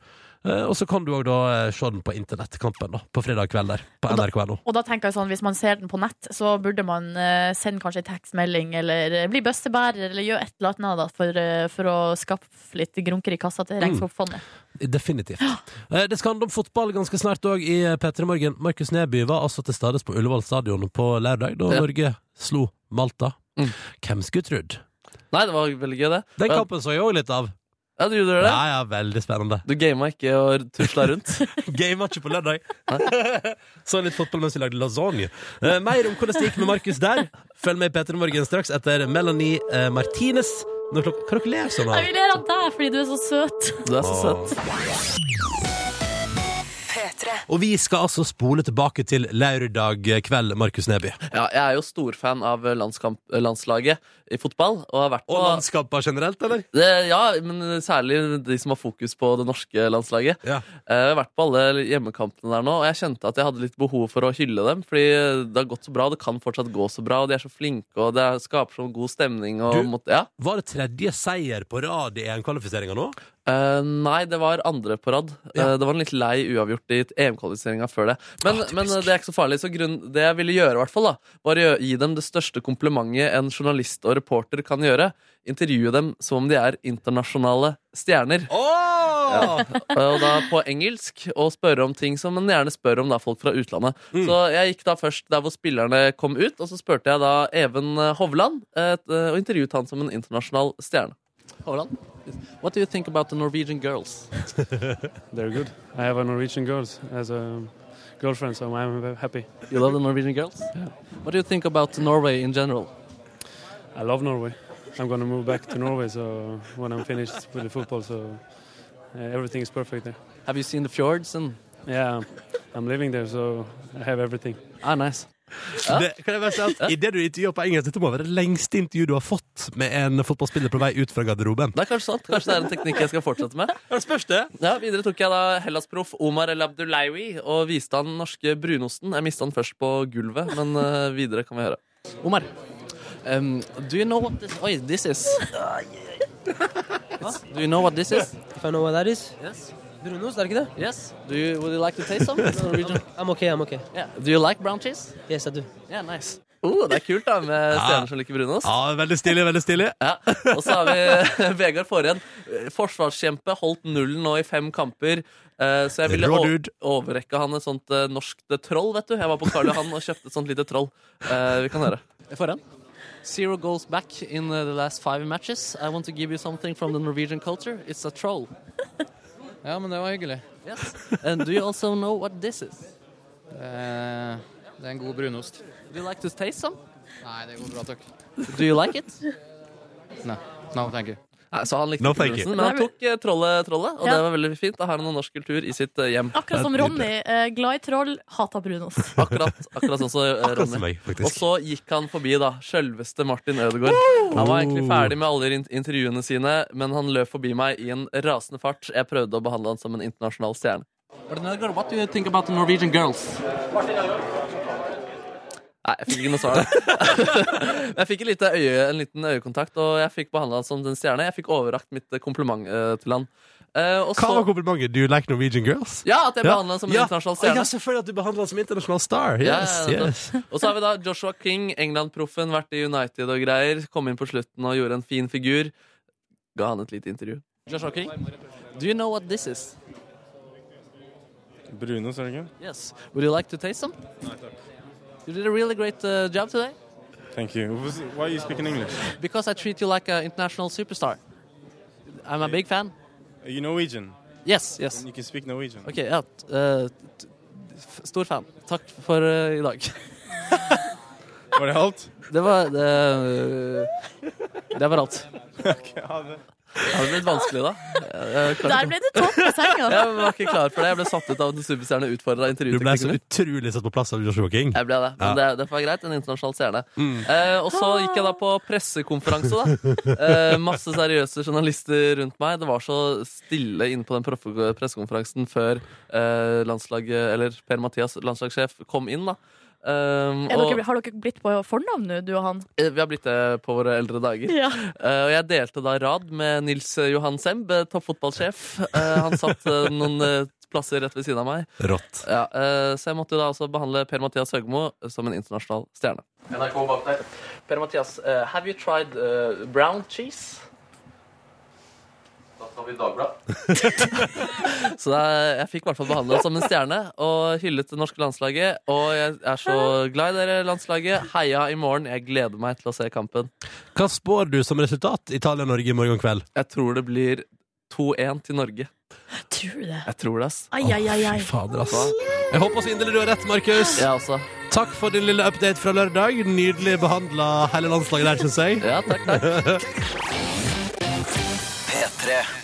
Eh, og så kan du òg da eh, se den på internettkampen da, på fredag kveld der, på nrk.no. Og da tenker jeg sånn, Hvis man ser den på nett, så burde man eh, sende kanskje en tekstmelding eller eh, bli bøssebærer eller gjøre et eller annet da, for, eh, for å skaffe litt grunker i kassa Mm. til Regnskogfondet. Definitivt. Eh, det skal handle om fotball ganske snart òg i eh, P3 Morgen. Markus Neby var altså til stades på Ullevål stadion på lørdag, da Ja. Norge slo Malta. Mm. Hvem skulle trodd? Nei, det var veldig gøy, det. Den Ja. kampen så jeg òg litt av. Ja, du gjorde det? Ja, ja, veldig spennende. Du gama ikke og tusla rundt? Gama ikke på lørdag. Så litt fotball mens vi lagde lasagne. Eh, mer om hvordan det gikk med Markus der. Følg med i P3 Morgen straks etter Melanie eh, Martinez. Når klok Hva dere ler sånn Jeg av? vil lære av deg fordi du er så søt! Du er så søt. Og vi skal altså spole tilbake til lørdag kveld, Markus Neby. Ja, jeg er jo storfan av landskamp, landslaget i fotball. Og har vært på Og landskaper generelt, eller? det, Ja, men særlig de som har fokus på det norske landslaget. Ja. Eh, Jeg har vært på alle hjemmekampene der nå, og jeg kjente at jeg hadde litt behov for å hylle dem. Fordi det har gått så bra, og det kan fortsatt gå så bra, og de er så flinke, og det er- skaper så god stemning. Og Du- mot, ja. Var det tredje seier på rad i EM-kvalifiseringa nå? Eh, nei, det var andre på rad. Ja. Eh, det var en litt lei uavgjort i EM-kvalifiseringa før det. Men, men eh, det er ikke så farlig. Så grunn, det jeg ville gjøre, i hvert fall, da, var å gjø- gi dem det største komplimentet en journalist og reporter kan gjøre. Intervjue dem som om de er internasjonale stjerner. Oh! Eh, og da på engelsk, og spørre om ting som man gjerne spør om da folk fra utlandet. Så jeg gikk da først der hvor spillerne kom ut, og så spurte jeg da Even eh, Hovland, eh, t- eh, og intervjuet han som en internasjonal stjerne. Hovland, what do you think about the Norwegian girls? They're good. I have a Norwegian girls as a girlfriend, so I'm happy. You love the Norwegian girls? What do you think about Norway in general? I love Norway. I'm gonna move back to Norway, so when I'm finished with the football, so uh, everything is perfect there. Have you seen the fjords? And... Yeah, I'm- I'm living there, so I have everything. Ah, nice. Det, kan jeg bare si at Idet du intervjuer på engelsk, dette må være det lengste intervjuet du har fått med en fotballspiller på vei ut fra garderoben. Det er kanskje sant. Kanskje det er en teknikk jeg skal fortsette med. Det spørs det. Ja, Videre tok jeg da Hellas-proff Omar El Abdullaiwi og viste han den norske brunosten. Jeg mista den først på gulvet, men eh, videre kan vi høre. Omar, um, do you know what this? Oh, this is. Huh? Do you know what this is? If I know what that is, Yes. brunost, er det ikke det? Yes. Do you, would you like to taste some? Norwegian? I'm okay, I'm okay. Yeah. Do you like brown cheese? Yes, I do. Yeah, nice. Oh, det er kult da, med stjerner som liker brunost. Ja, Veldig stilig, veldig stilig. Ja. Og så har vi eh, Vegard Forhen. Eh, Forsvarskjempe, holdt nullen nå i fem kamper. Eh, Så jeg ville Rå o- dude. overrekke han et sånt eh, norskt troll, vet du. Jeg var på Karl Johan og kjøpte et sånt lite troll. Eh, Vi kan høre. Foran? Zero goals back in uh, the last five matches. I want to give you something from the Norwegian culture. It's a troll. Ja, men det var hyggelig. Yes. And do you also know what this is? Eh, det er en god brunost. Do you like to taste some? Nei, det går bra, takk. Do you like it? No, no thank you. Nei, så han likte No, ikke thank you. brusen, men han Nei, men- tok eh, trollet, trollet og Ja. det var veldig fint. Da har han noe norsk kultur i sitt eh, hjem. Akkurat som Ronny. eh, Glad i troll, hater brunost. Akkurat, akkurat sånn som eh, Akkurat som Ronny. meg, Og faktisk. så gikk han forbi, da. Sjølveste Martin Ødegaard. Han var egentlig ferdig med alle in- intervjuene sine, men han løp forbi meg i en rasende fart. Jeg prøvde å behandle han som en internasjonal stjerne. What do you think about the Norwegian girls? Nei, jeg fikk ikke noe svar. Men jeg fikk et lite øye, en liten øyekontakt, og jeg fikk behandla han som den stjerne. Jeg fikk overrakt mitt eh, kompliment eh, til han. Eh, og Hva var så komplimentet? Do you like Norwegian girls? Ja, at jeg behandla han som en Ja. internasjonal Å, stjerne. Ja, selvfølgelig at du behandler han som internasjonal star. Ja, Yes, ja, ja. yes. Og så har vi da Joshua King, England-proffen, vært i United og greier. Kom inn på slutten og gjorde en fin figur. Ga han et lite intervju. Joshua King, do you know what this is? Brunost, er det ikke? Yes. Would you like to taste some? You did a really great uh, job today Thank you. Hvorfor- Why are you speaking English? because I treat you like an international superstar. I'm a big fan. Are you Norwegian? Yes, yes. You can speak Norwegian. Ok, ja. t- eh, t- f- stor fan. Takk for eh, i dag. Var det alt? Det var Det, det var alt. Ja, det. Har det blitt vanskelig, da? Eh, kanskje- Der ble det topp på senga. Jeg var ikke klar for det. Jeg ble satt ut av at en superstjerne utfordra Du ble så intervjuteknikeren. utrolig satt på plass av Joshua King. Jeg ble det, men Ja. Mm. det, det var greit. En internasjonal stjerne. Eh, og så gikk jeg da på pressekonferanse, da. Eh, masse seriøse journalister rundt meg. Det var så stille inne på den proffe- pressekonferansen før eh, landslaget, eller Per Mathias, landslagssjef, kom inn, da. Eh, Er og dere, har dere blitt på fornavn nå, du og han? eh, vi har blitt det på våre eldre dager. Ja. Eh, og jeg delte da rad med Nils Johan Semb, eh, toppfotballsjef. Eh, han satt eh, noen eh, plasser rett ved siden av meg. Rått. Ja, eh, så jeg måtte jo da også behandle Per-Mathias Høgmo eh, som en internasjonal stjerne. NRK bak deg. Per-Mathias, eh, have you tried eh, brown cheese? Da tar vi Dagbladet. så da, jeg fikk i hvert fall behandla som en stjerne og hyllet det norske landslaget. Og jeg er så glad i dere, landslaget. Heia i morgen. Jeg gleder meg til å se kampen. Hva spår du som resultat Italia-Norge i morgen kveld? Jeg tror det blir 2-1 til Norge. Tror du det? Jeg tror det, ass. Ai, ai, ai, ai. Fy fader, ass. Jeg håper så inderlig du har rett, Markus. Jeg også. Takk for din lille update fra lørdag. Nydelig behandla hele landslaget der, syns jeg. Ja, takk, takk.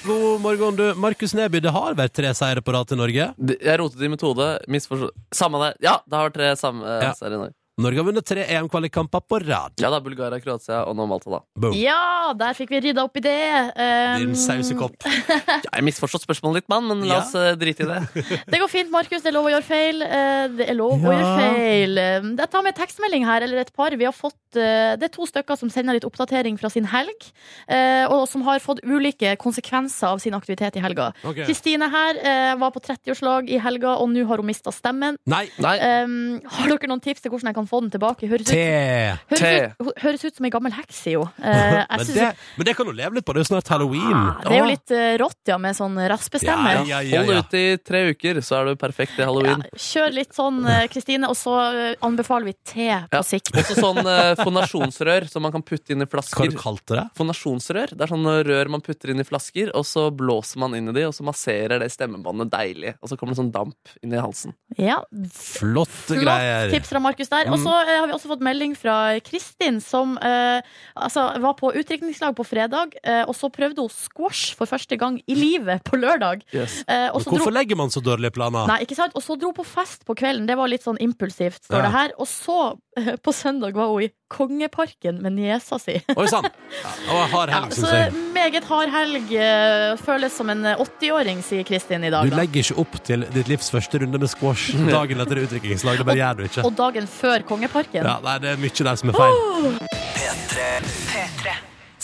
God morgen, du. Markus Neby, det har vært tre seire på rad til Norge. Det- Jeg rotet i metode. Misforstå... Samme det. Ja, det har vært tre samme eh, Ja. serier i Norge. Norge har vunnet tre EM-kvalikkamper på rad. Ja da, Bulgaria, Kroatia og nå Malta, da. Boom. Ja, der fikk vi rydda opp i det. Um, Din sausekopp. Jeg har misforstått spørsmålet litt, mann, men la Ja. oss eh, drite i det. Det går fint, Markus. Det er lov å gjøre feil. Eh, Det er lov å Ja. gjøre feil. Eh, Jeg tar med en tekstmelding her, eller et par. Vi har fått eh, Det er to stykker som sender litt oppdatering fra sin helg, eh, og som har fått ulike konsekvenser av sin aktivitet i helga. Ok. Kristine her eh, var på 30-årslag i helga, og nå har hun mista stemmen. Nei. Nei, Um, har dere noen tips til hvordan jeg kan få den tilbake? Høres Te. ut, høres Te. ut, høres ut som ei gammel heks, jo. Eh, jeg Men synes- det, men det kan du leve litt på. Det er jo snart halloween. Ah, det er jo litt eh, rått, ja, med sånn raspestemme. Ja, ja, ja, Hold ja. ut i tre uker, så er du perfekt i halloween. Kjør litt sånn, eh, Kristine, og så eh, anbefaler vi te på sikt. Også sånn eh, Fonasjonsrør som man kan putte inn i Hva har flasker. du kalt det? Fonasjonsrør. Det er sånne rør man putter inn i flasker, og så blåser man inn i de, og så masserer det stemmebåndet deilig. Og så kommer det sånn damp inn i halsen. Ja, Flotte Flott greier. tips fra Markus der. Og så Mm. eh, har vi også fått melding fra Kristin, som eh, altså, var på utdrikningslag på fredag. Eh, og så prøvde hun squash for første gang i livet på lørdag. Eh, og så dro Hvorfor legger man så dårlige planer? Nei, ikke sant? Og så dro hun på fest på kvelden. Det var litt sånn impulsivt, står Ja. det her. Og så, eh, på søndag, var hun i Kongeparken med niesa si. Oi sann! Og jeg har Ja, helg, så syns jeg. meget hard helg. eh, Føles som en 80-åring, sier Kristin i dag. Du Da. legger ikke opp til ditt livs første runde med squash dagen etter utdrikningslag. Det bare gjør du ikke. Og dagen før Kongeparken. Ja, nei, det er mye der som er feil.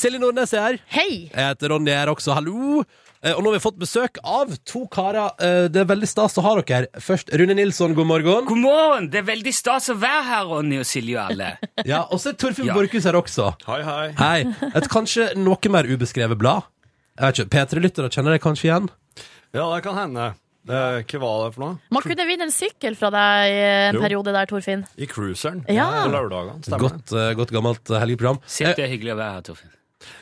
Silje Nordnes er her. Hei! Jeg heter Ronny her også. Hallo! Eh, Og nå har vi fått besøk av to karer. Eh, Det er veldig stas å ha dere her. Først Rune Nilsson, god morgen. God morgen! Det er veldig stas å være her, Ronny og Silje og alle. Ja, Og så er Torfinn Ja. Borchhus her også. Hi, hi. Hei. Et kanskje noe mer ubeskrevet blad. Jeg vet ikke, P3-lyttere kjenner deg kanskje igjen? Ja, det kan hende. Hva var det for noe? Man kunne vinne en sykkel fra deg eh, en Jo. periode der, Torfinn. I cruiseren Ja. på lørdagene. Stemmer det. Godt, eh, godt gammelt eh, helgeprogram. Sitt, det er hyggelig å være her, Torfinn.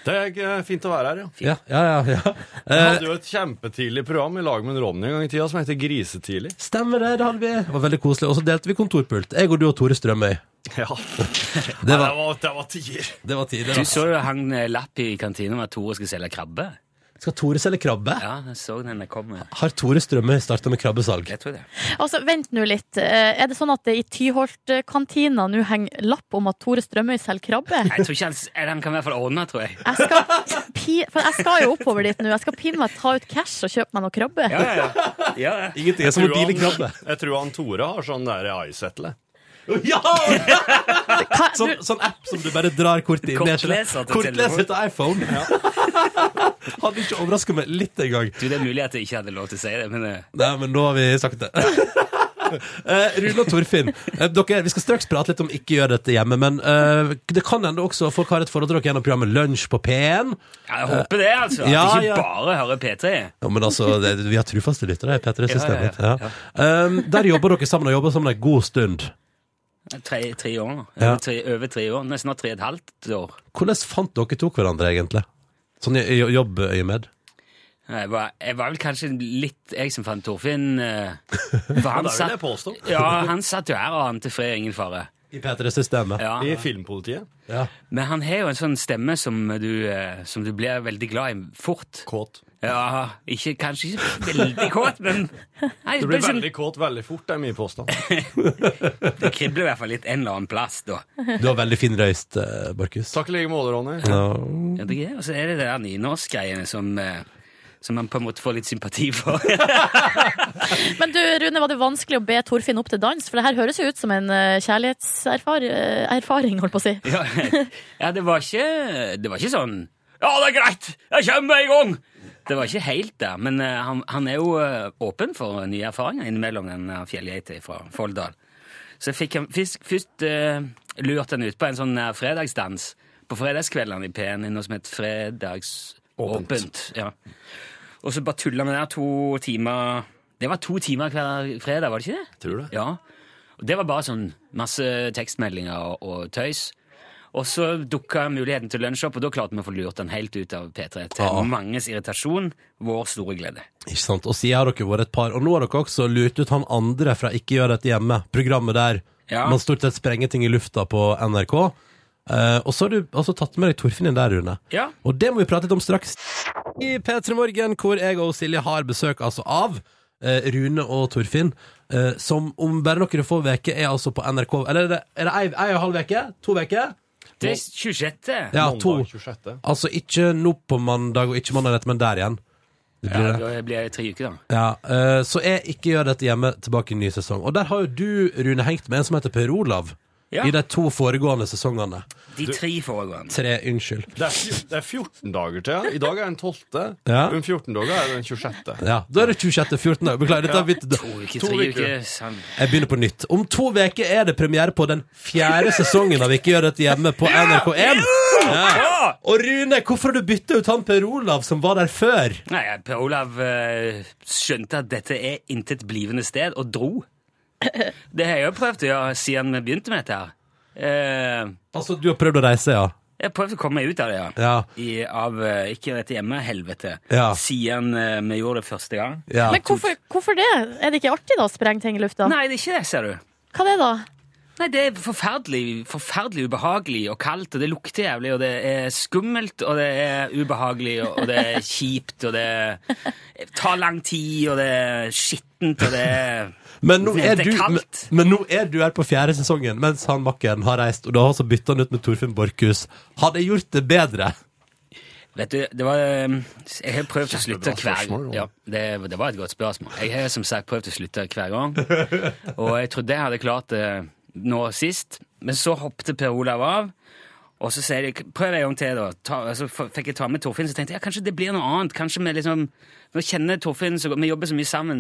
Det er eh, fint å være her, ja. Ja, ja, ja. Eh, ja. Jeg hadde jo et kjempetidlig program i lag med en Ronny en gang i tida som heter Grisetidlig. Stemmer det, det hadde vi. Det var veldig koselig. Og så delte vi kontorpult. Jeg og du og Tore Strømøy. Ja. Det var, det var tider. det var tid. det Du var- så det hang eh, lapp i kantina om at Tore skulle selge krabbe? Skal Tore selge krabbe? Ja, jeg så den der kom. Har Tore Strømøy starta med krabbesalg? Jeg tror det. Altså, Vent nå litt. Eh, Er det sånn at det i Tyholt-kantina nå henger lapp om at Tore Strømøy selger krabbe? Jeg tror ikke han, s- eller han kan i hvert fall ordne, tror jeg. Jeg skal, pi, for jeg skal jo oppover dit nå. Jeg skal pinne meg ta ut cash og kjøpe meg noe krabbe. Ja, ja, ja. ja. ja. Ingenting er som å deale krabbe. Jeg tror han Tore har sånn der icesettle. Ja! Hva, Sånn, sånn app som du bare drar kortet inn. ned, Kortleser til Kortleser til iPhone. Hadde ikke overraska meg litt engang. Du, Det er mulig at jeg ikke hadde lov til å si det, men eh, Nei, men nå har vi sagt det. Eh, Rune og Torfinn, eh, dere, vi skal straks prate litt om ikke gjør dette hjemme. Men eh, det kan hende også folk har et forhold til dere gjennom programmet Lunsj på P1. ja, jeg håper det, altså. At Ja, jeg ja. ikke bare hører P3. Ja, men altså, det, Vi har trufaste lyttere i P3-systemet. Ja, ja, Ja, Um, der jobber dere sammen og jobber sammen en god stund. Tre, tre år nå. Ja. Over Tre, over tre år. Nei, snart tre og et halvt år. Hvordan fant dere to hverandre, egentlig? Sånn i i jobbøyemed? Jeg var, jeg var vel kanskje litt jeg som fant Torfinn. eh, For han Det vil jeg satt, påstå. ja, han satt jo her og ante fred og ingen fare. I P3-systemet? Ja. I Filmpolitiet. Men han har jo en sånn stemme som du, eh, som du blir veldig glad i fort. Kåt. Ja, ikke, kanskje ikke veldig kåt, men nei, Du blir det, blir sånn, veldig kåt veldig fort, det er min påstand. det kribler i hvert fall litt en eller annen plass, da. Du har veldig fin røyst, eh, Borchhus. Takk i like måte, Ronny. Ja. Ja, det er, og så er det det der nynorskgreiene som, eh, som man på en måte får litt sympati for. Men du, Rune, var det vanskelig å be Torfinn opp til dans? For det her høres jo ut som en eh, kjærlighetserfaring, holdt på å si. Ja, ja det, var ikke, det var ikke sånn Ja, det er greit! Jeg kommer med en gang! Det var ikke helt det, men eh, han, han er jo eh, åpen for nye erfaringer innimellom den eh, fjellgeita fra Folldal. Så jeg fikk han først, først eh, lurt han ut på en sånn eh, fredagsdans på fredagskveldene i P1, i noe som het Fredagsåpent. Ja. Og så bare tulla vi der to timer Det var to timer hver fredag, var det ikke det? Tror det. Ja. Og det var bare sånn masse tekstmeldinger og, og tøys. Og så dukka muligheten til lunsj opp, og da klarte vi å få lurt den helt ut av P3. Til Ja. manges irritasjon, vår store glede. Ikke sant? Og siden har dere vært et par. Og nå har dere også lurt ut han andre fra Ikke gjør dette hjemme, programmet der Ja. man stort sett sprenger ting i lufta på NRK. Eh, og så har du altså tatt med deg Torfinn inn der, Rune. Ja. Og det må vi prate litt om straks. I P3 Morgen, hvor jeg og Silje har besøk altså av eh, Rune og Torfinn, eh, som om bare noen få uker er altså på NRK Eller er det, er det ei, ei og en halv uke? To uker? Det er 26. Ja, to. Mandag 26. Altså ikke nå på mandag og ikke mandag etter, men der igjen. Det blir Ja, det. da blir det tre uker, da. Ja, eh, så jeg ikke gjør dette hjemme tilbake i ny sesong. Og der har jo du, Rune, hengt med en som heter Per Olav. Ja. I de to foregående sesongene. De tre foregående. Tre, unnskyld. Det er, fjo- det er 14 dager til. ja. I dag er den 12. Ja. Om 14 dager er det den 26. Ja, Da er det 26. 14. da. Beklager, dette har blitt To uker, To tre uker. uker. sånn. sant. Jeg begynner på nytt. Om to uker er det premiere på den fjerde sesongen av Ikke gjør dette hjemme på NRK1. Ja. Og Rune, hvorfor har du bytta ut han Per Olav som var der før? Nei, Per Olav eh, skjønte at dette er intet blivende sted, og dro. Det har jeg jo prøvd å gjøre siden vi begynte med dette her. Eh, Altså, du har prøvd å reise, ja? jeg prøvde å komme meg ut av det, ja. Ja. I, av eh, ikke rett hjemme, helvete. Ja. Siden eh, vi gjorde det første gang. ja. Men hvorfor, hvorfor det? Er det ikke artig da å sprenge ting i lufta? Nei, det er ikke det, ser du. Hva er det da? Nei, det er forferdelig, forferdelig ubehagelig og kaldt, og det lukter jævlig, og det er skummelt, og det er ubehagelig, og, og det er kjipt, og det er- tar lang tid, og det er skittent, og det er Men nå, er Det du, er men, kaldt. men nå er du her på fjerde sesongen, mens han makkeren har reist, og da har altså bytta han ut med Torfinn Borchhus. Hadde jeg gjort det bedre? Vet du, det var eh, Jeg har prøvd å slutte hver gang. Ja, det, det var et godt spørsmål. Jeg har som sagt prøvd å slutte hver gang, og jeg trodde jeg hadde klart det nå sist, men så hoppet Per Olav av. Og så sier de, prøv en gang til, da. Ta, så f- fikk jeg ta med Torfinn, så tenkte jeg ja, kanskje det blir noe annet. Kanskje vi liksom Nå kjenner Torfinn så godt, vi jobber så mye sammen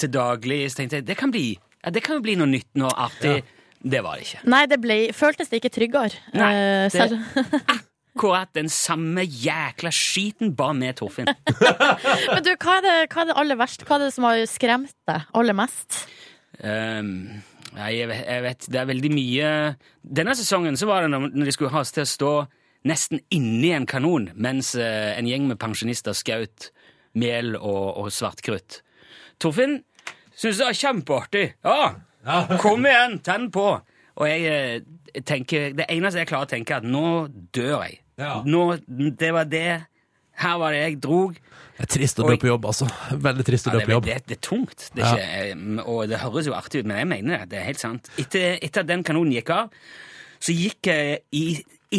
til daglig, så tenkte jeg det kan bli ja, det kan jo bli noe nytt, noe artig. Det var det ikke. Nei, det ble, føltes det ikke tryggere. Nei, eh, det- selv. Akkurat den samme jækla skiten, bare med Torfinn. Men du, hva er, det, hva er det aller verst? Hva er det som har skremt deg aller mest? Ehm, nei, jeg, ve- jeg vet, det er veldig mye Denne sesongen så var det når når de skulle ha oss til å stå nesten inni en kanon mens eh, en gjeng med pensjonister skjøt mel og, og svartkrutt. Torfinn syntes det var kjempeartig. Ja, kom igjen, tenn på! Og jeg eh, tenker, det eneste jeg klarer å tenke, er at nå dør jeg. Ja. Nå, det var det. Her var det jeg drog. Det er trist å dø Oi. på jobb, altså. Veldig trist å Ja, dø det, på er- jobb. det, det er tungt, det er ikke, eh, og det høres jo artig ut, men jeg mener det. Det er helt sant. Etter, etter at den kanonen gikk av, så gikk jeg i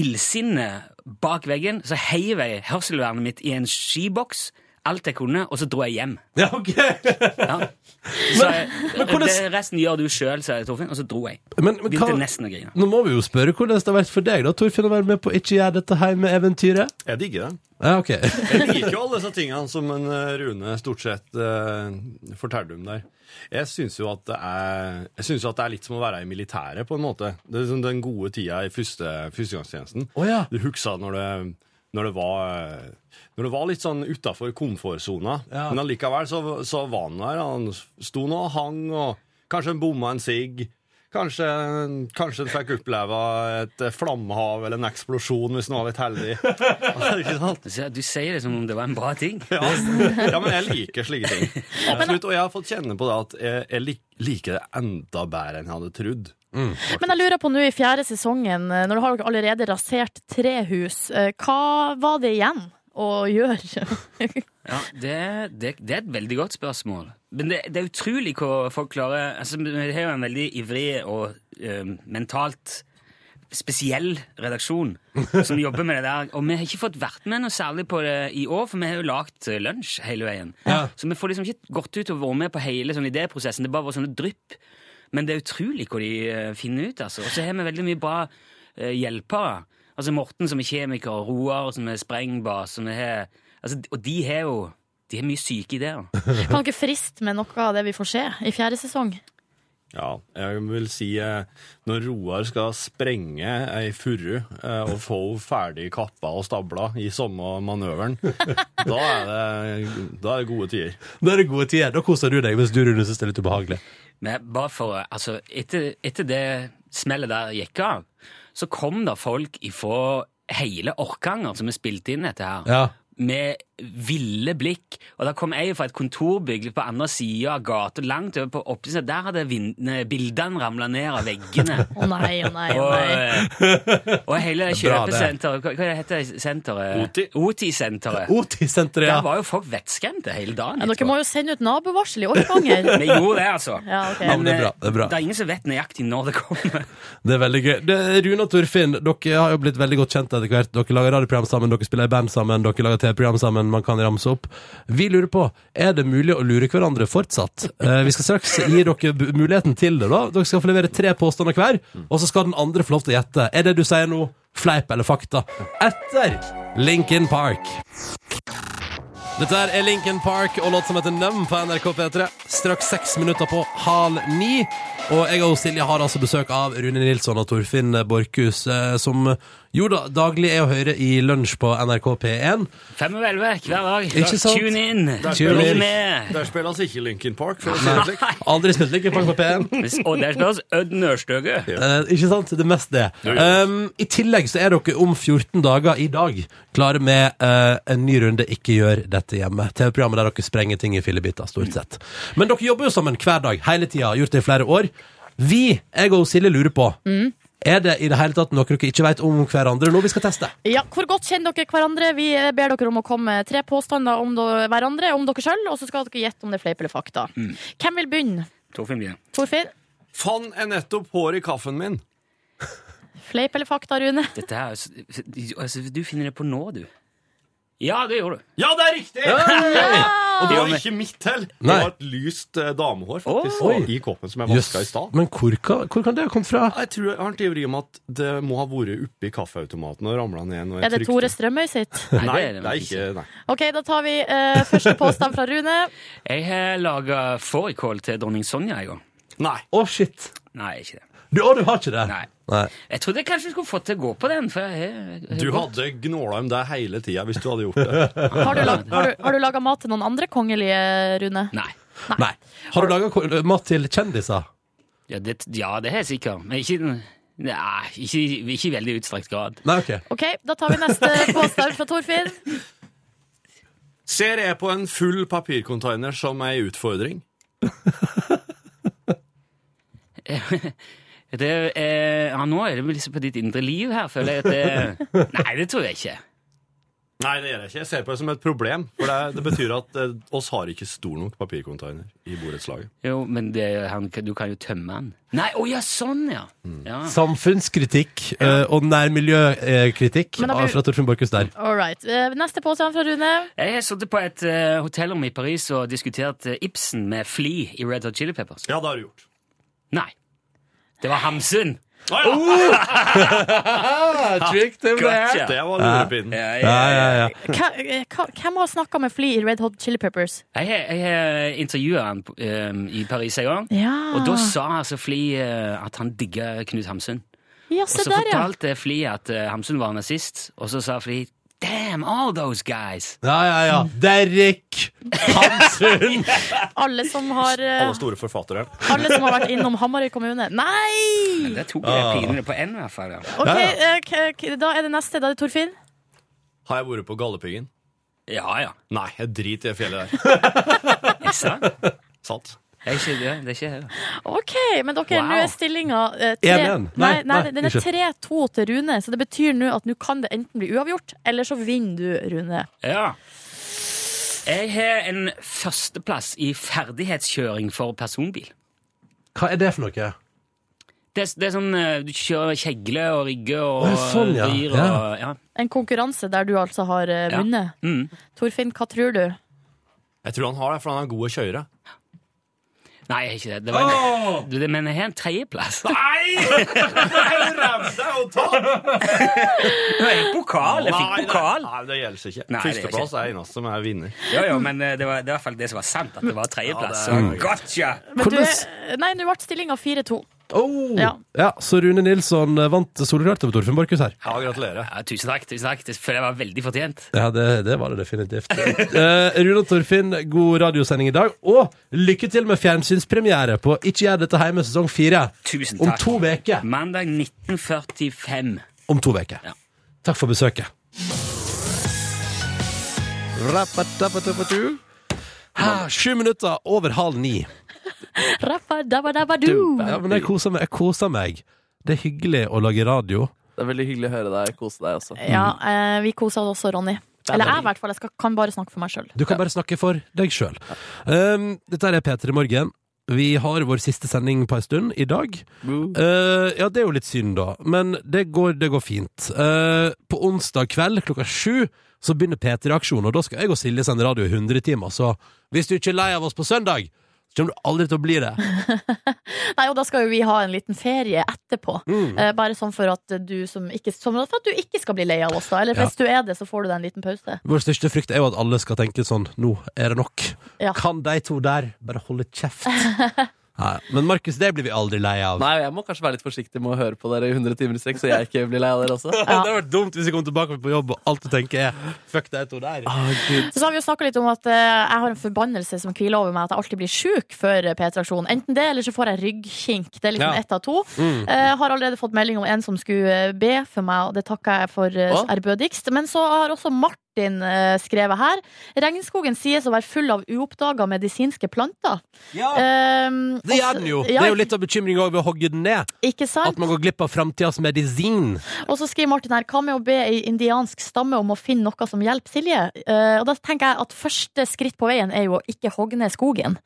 illsinne bak veggen, så heiv jeg hørselvernet mitt i en skiboks, alt jeg kunne, og så dro jeg hjem. Ja, ok! Ja. Så jeg, men hvordan- det resten gjør du sjøl, sa jeg, Torfinn, og så dro jeg. Men, men Begynte hva, nesten å grine. nå må vi jo spørre hvordan det har vært for deg, da, Torfinn, å være med på Ikke gjør dette hjemme-eventyret. Jeg digger det. Ja, ok. Jeg liker jo alle disse tingene som en eh, Rune stort sett eh, forteller om der. Jeg syns jo at det er Jeg synes jo at det er litt som å være i militæret, på en måte. Det er liksom den gode tida i første, førstegangstjenesten. Å ja. Du husker når det, når det var eh, når det var litt sånn utafor komfortsona, Ja. men allikevel så, så var han der. Han sto nå og hang, og kanskje han bomma en sigg. Kanskje, kanskje han fikk oppleve et eh, flammehav eller en eksplosjon, hvis han var litt heldig. Altså, ikke sant? Så Du sier det som om det var en bra ting. Ja. ja, men jeg liker slike ting. Absolutt, Og jeg har fått kjenne på det at jeg, jeg lik, liker det enda bedre enn jeg hadde trodd. Men jeg lurer på nå i fjerde sesongen, eh, når du har allerede rasert tre hus, eh, hva var det igjen å gjøre? Ja, det, det, det er et veldig godt spørsmål. Men det, det er utrolig hva folk klarer altså, Vi har jo en veldig ivrig og eh, mentalt spesiell redaksjon som jobber med det der. Og vi har ikke fått vært med noe særlig på det i år, for vi har jo lagd eh, lunsj hele veien. Ja. Så vi får liksom ikke gått ut og vært med på hele sånn idéprosessen. Det bare var sånne drypp. Men det er utrolig hva de eh, finner ut, altså. Og så har vi veldig mye bra eh, hjelpere. Altså Morten som er kjemiker, og Roar som er sprengbass, som er altså, Og de har jo De har mye syke ideer. Kan dere friste med noe av det vi får se i fjerde sesong? Ja, jeg vil si eh, når Roar skal sprenge ei furu eh, og få henne ferdig kappa og stabla i samme manøveren, da er det, da er det gode tider. Da er det gode tider. Da koser du deg, mens du, Rune, syns det er litt ubehagelig. Men bare for Altså, etter, etter det smellet der gikk av, så kom det folk ifra hele Orkanger som vi spilte inn dette her. Ja. med ville blikk. Og da kom jeg fra et kontorbygg på andre sida av gata, langt over på oppsiden. Der hadde vin- eh, bildene ramla ned av veggene. Å nei, å nei, å Og, nei. eh, og hele det Det er bra, det. kjøpesenteret Hva hva heter det senteret? OT-senteret. OT-senteret, Der ja. var jo folk vettskremte hele dagen. Ja, dere etterpå. må jo sende ut nabovarsel i Orkanger. Vi gjorde det, altså. Ja, ok. Ja, men det er bra, det er bra. eh, det er ingen som vet nøyaktig når det kommer. Det er veldig gøy. Det, Rune og Torfinn, dere har jo blitt veldig godt kjent etter hvert. Dere lager radioprogram sammen, dere spiller i band sammen, dere lager TV-program sammen. Man kan ramse opp. Vi lurer på, er det mulig å lure hverandre fortsatt? Eh, vi skal straks gi dere bu- muligheten til det, da. Dere skal få levere tre påstander hver, og så skal den andre få lov til å gjette. Er det du sier nå, fleip eller fakta? Etter Linkin Park. Dette her er Linkin Park og låt som heter Numb på NRK P3. Straks seks minutter på halv ni. Og jeg og Silje har altså besøk av Rune Nilsson og Torfinn Borchhus, eh, som Jo da, daglig er å høre i lunsj på NRK P1. Fem over elleve hver dag. Ikke sant? Tune in! Tune Bli in. med! Der spilles ikke Linkin Park. For å si det slik. Aldri spilt like på P1. Og der spilles Ødd Nørstøge. Eh, ikke sant? Det er mest det. Um, I tillegg så er dere om 14 dager i dag klare med eh, en ny runde Ikke gjør dette hjemme. TV-programmet der dere sprenger ting i fillebiter, stort sett. Men dere jobber jo sammen hver dag, hele tida, har gjort det i flere år. Vi, jeg og Silje, lurer på Er det i det hele tatt noe dere ikke vet om hverandre nå vi skal teste? Ja, Hvor godt kjenner dere hverandre? Vi eh, ber dere om å komme med tre påstander om do- hverandre, om dere sjøl, og så skal dere gjette om det er fleip eller fakta. Hvem vil begynne? Torfinn Byen. Torfinn? Fann er nettopp hår i kaffen min. Fleip eller fakta, Rune? Dette her, er s- du- altså, du finner det på nå, du. Ja, det gjorde du. Ja, det er riktig! Og det var ikke mitt hell. Det Nei. var et lyst eh, damehår faktisk, Oi. i kåpen som jeg vaska i Jøss, stad. Men hvor, ka- hvor kan det ha kommet fra? Jeg tror jeg har en teori om at det må ha vært oppi kaffeautomaten og ramla ned. når jeg Er det trykte. Tore Strømøy sitt? Nei, det er det det er nok ikke nei. OK, da tar vi eh, første påstand fra Rune. Jeg har laga fårikål til dronning Sonja en gang. nei. Å, shit. Nei, ikke det. Du, å, du har ikke det? Nei. Nei. Jeg trodde jeg kanskje skulle fått til å gå på den. For jeg, jeg, jeg, Du hadde gnåla om deg hele tida hvis du hadde gjort det. Har du, lag, har, du, har du laga mat til noen andre kongelige, Rune? Nei. Nei. Har du laga mat til kjendiser? Ja, det, ja, det har jeg sikkert. Men ikke, nei, ikke, ikke i veldig utstrakt grad. Nei, OK. OK, da tar vi neste påstand fra Torfinn. Ser jeg på en full papircontainer som ei utfordring? Det, eh, ja, nå er det vel liksom på ditt indre liv her, føler jeg. At det, nei, det tror jeg ikke. Nei, det gjør jeg ikke. Jeg ser på det som et problem. For det, det betyr at eh, oss har ikke stor nok papircontainer i borettslaget. Jo, men det, han, du kan jo tømme den. Nei, å ja, sånn, ja! Mm. ja. Samfunnskritikk eh, og nærmiljøkritikk Men da blir- av- fra Torfinn Borchhus der. All right. Eh, Neste påstand fra Rune. Jeg har sittet på et eh, hotellrom i Paris og diskutert eh, Ibsen med Fli i Red Hot Chili Peppers. Ja, det har du gjort. Nei. Det var Hamsun! Å, Oh! ja. Gotcha. Det var lurepinn. Ja, Ja, ja, ja, ja. ja. Hva- eh, hva- Hvem har snakka med Fly i Red Hot Chili Peppers? Jeg har- jeg har intervjua han på- eh, i Paris en gang. Ja, Og da sa altså Fli eh, at han digga Knut Hamsun. ja Og se så der, ja. fortalte Fli at eh, Hamsun var nazist, og så sa Fli Damn, all those guys! ja, ja, ja. Derek Hamsun! Alle som har, eh, Alle store forfattere. alle som har vært innom Hamarøy kommune. Mm. Nei! Der tok Ah. jeg pinene på én, i hvert fall. Ja. Ok, Ja, ja. eh, k- k- Da er det neste. Da er det Torfinn. Har jeg vært på Galdhøpiggen? ja, ja. Nei, jeg driter i det fjellet der. Jeg sa det. Sant. Det er ikke det. det er ikke jeg. Ok, men dere, Wow. nå er stillinga eh, tre- 1-1. Nei, Nei, nei, nei, den er unnskyld. 3-2 til Rune, så det betyr nå at nå kan det enten bli uavgjort, eller så vinner du, Rune. Ja. Jeg har en førsteplass i ferdighetskjøring for personbil. Hva er det for noe? Det, er- det er sånn eh, du kjører kjegle og rigge og Å, sånn, ja. rir og Ja. ja. En konkurranse der du altså har eh, Ja. vunnet. Mm. Torfinn, hva tror du? Jeg tror han har det, for han er god å kjøre. Nei, jeg har ikke det. det var en, du, det men jeg har en tredjeplass. Nei! Det er jo tatt! En pokal! Jeg fikk pokal. Nei, det gjelder ikke. Nei, det gjør Førsteplass er eneste som er vinner. Jo, jo, men eh, det var, det var i hvert fall det som var sant, at det var Ja, tredjeplass. det er- Så Gotcha! Men du, eh, Hvordan- nei, nå ble stillinga 4-2. Oh. Ja. Ja. Så Rune Nilsson eh, vant soleklart over Torfinn Borchhus her. Ja, gratulerer. Ja, tusen takk. tusen takk. Det føler jeg var veldig fortjent. Ja, det, det var det definitivt. Eh, Rune og Torfinn, god radiosending i dag, og lykke til med fjernsynspremiere på Ikke gjør dette hjemme sesong fire. Tusen Om takk. to veker. Mandag 1945. Om to veker. Ja. Takk for besøket. Ah, Sju minutter over halv ni. Rappadabadabadu. Ja, men jeg koser meg. Jeg koser meg. Det er hyggelig å lage radio. Det er veldig hyggelig å høre deg kose deg også. Ja, eh, vi kosa oss også, Ronny. Eller jeg, i hvert fall. Jeg skal, kan bare snakke for meg sjøl. Du kan bare snakke for deg sjøl. Um, dette her er P3 Morgen. Vi har vår siste sending på ei stund i dag. Uh, ja, det er jo litt synd, da, men det går, det går fint. Uh, på onsdag kveld klokka sju så begynner P3-aksjonen, og da skal jeg og Silje sende radio i 100 timer. Så hvis du ikke er lei av oss på søndag, så kommer du aldri til å bli det. Nei, og da skal jo vi ha en liten ferie etterpå. Mm. Eh, bare sånn for at du som ikke Sånn for at du ikke skal bli lei av oss, da. Eller Ja. hvis du er det, så får du deg en liten pause. Vår største frykt er jo at alle skal tenke sånn Nå er det nok. Ja. Kan de to der bare holde kjeft? Nei, men Markus, det blir vi aldri lei av. Nei, jeg må kanskje være litt forsiktig med å høre på dere i 100 timer i strekk, så jeg ikke blir lei av dere også. Det hadde vært dumt hvis jeg kom tilbake på jobb og alt du tenker er Fuck de to der. Så har vi jo snakka litt om at eh, jeg har en forbannelse som hviler over meg, at jeg alltid blir sjuk før eh, P-traksjon. Enten det, eller så får jeg ryggkink. Det er liksom Ja. ett av to. Mm. Eh, har allerede fått melding om en som skulle eh, be for meg, og det takker jeg for eh, Å. ærbødigst. Men så har også Martin eh, skrevet her. Regnskogen sies å være full av uoppdaga medisinske planter. Eh, Det også- gjør den jo. Det Ja, er jo litt av bekymringa ved å hogge den ned. Ikke sant? At man går glipp av framtidas medisin. Og så skriver Martin her Hva med å be ei indiansk stamme om å finne noe som hjelper Silje? Eh, og da tenker jeg at første skritt på veien er jo å ikke hogge ned skogen.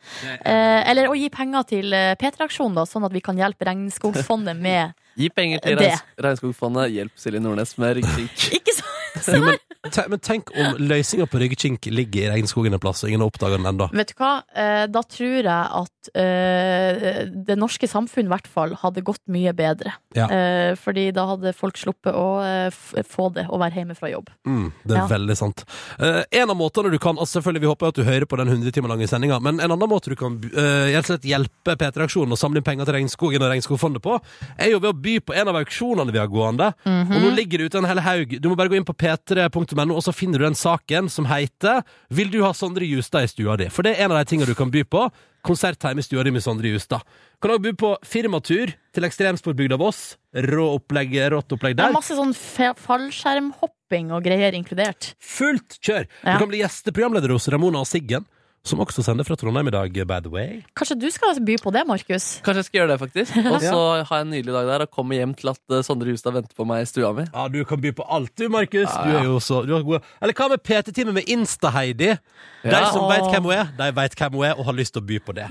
Eh, eller å gi penger til eh, P3-aksjonen, da, sånn at vi kan hjelpe Regnskogsfondet med Gi penger til Det. Regns Regnskogfondet. Hjelp Silje Nordnes med ryggkink. Ikke sant? Jo, men, te- men tenk om løsninga på ryggkink ligger i regnskogen en plass, og ingen har oppdaga den ennå. Vet du hva? Eh, da tror jeg at eh, det norske samfunn i hvert fall hadde gått mye bedre. Ja. Eh, fordi da hadde folk sluppet å eh, f få det, å være hjemme fra jobb. Mm, det er Ja. veldig sant. Eh, en av måtene du kan altså selvfølgelig Vi håper at du hører på den 100 timer lange sendinga, men en annen måte du kan eh, rett og slett hjelpe P3-aksjonen og samle inn penger til Regnskogen og Regnskogfondet på, er jo ved å by på en av auksjonene vi har gående. Mhm. Og nå ligger det ute en hel haug. Du må bare gå inn på p3.no, og så finner du den saken som heter 'Vil du ha Sondre Justad i stua di?' For det er en av de tinga du kan by på. Konsert hjemme i stua di med Sondre Justad. Kan òg by på firmatur til ekstremsportbygda Voss. Rå opplegg, rått opplegg Det der. er masse sånn fe- fallskjermhopping og greier inkludert. Fullt kjør! Ja. Du kan bli gjesteprogramleder hos Ramona og Siggen, som også sender fra Trondheim i dag, by the way. Kanskje du skal by på det, Markus? Kanskje jeg skal gjøre det, faktisk. Og så ha en nydelig dag der og komme hjem til at eh, Sondre Hustad venter på meg i stua mi. Ja, du kan by på alt, du, Markus. Du er jo så du er god. Eller hva med PT-time med Insta-Heidi? De Ja. som veit hvem hun er, de veit hvem hun er og har lyst til å by på det.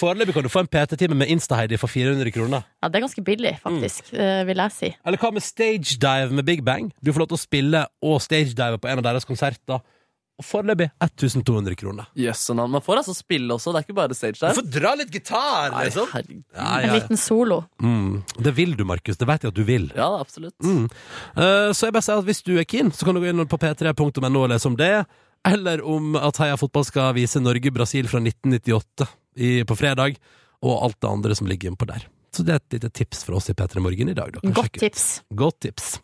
Foreløpig kan du få en PT-time med Insta-Heidi for 400 kroner. Ja, det er ganske billig, faktisk, eh, vil jeg si. Eller hva med stage dive med Big Bang? Du får lov til å spille og stage dive på en av deres konserter. Og foreløpig 1200 kroner. Jøsse navn. Man får altså spille også, det er ikke bare stage Du der. får dra litt gitar, Nei, sånn? liksom. herregud. Ja, En ja, ja. liten solo. Mm. Det vil du, Markus. Det veit jeg at du vil. Ja, da, absolutt. Mm. Eh, Så jeg bare sier at hvis du er keen, så kan du gå inn på p3.no og lese om det. Eller om at Heia Fotball skal vise Norge-Brasil fra 1998 i, på fredag. Og alt det andre som ligger innpå der. Så det er et lite tips fra oss i P3 Morgen i dag. da. Kan Godt sjekke ut. tips. Godt tips.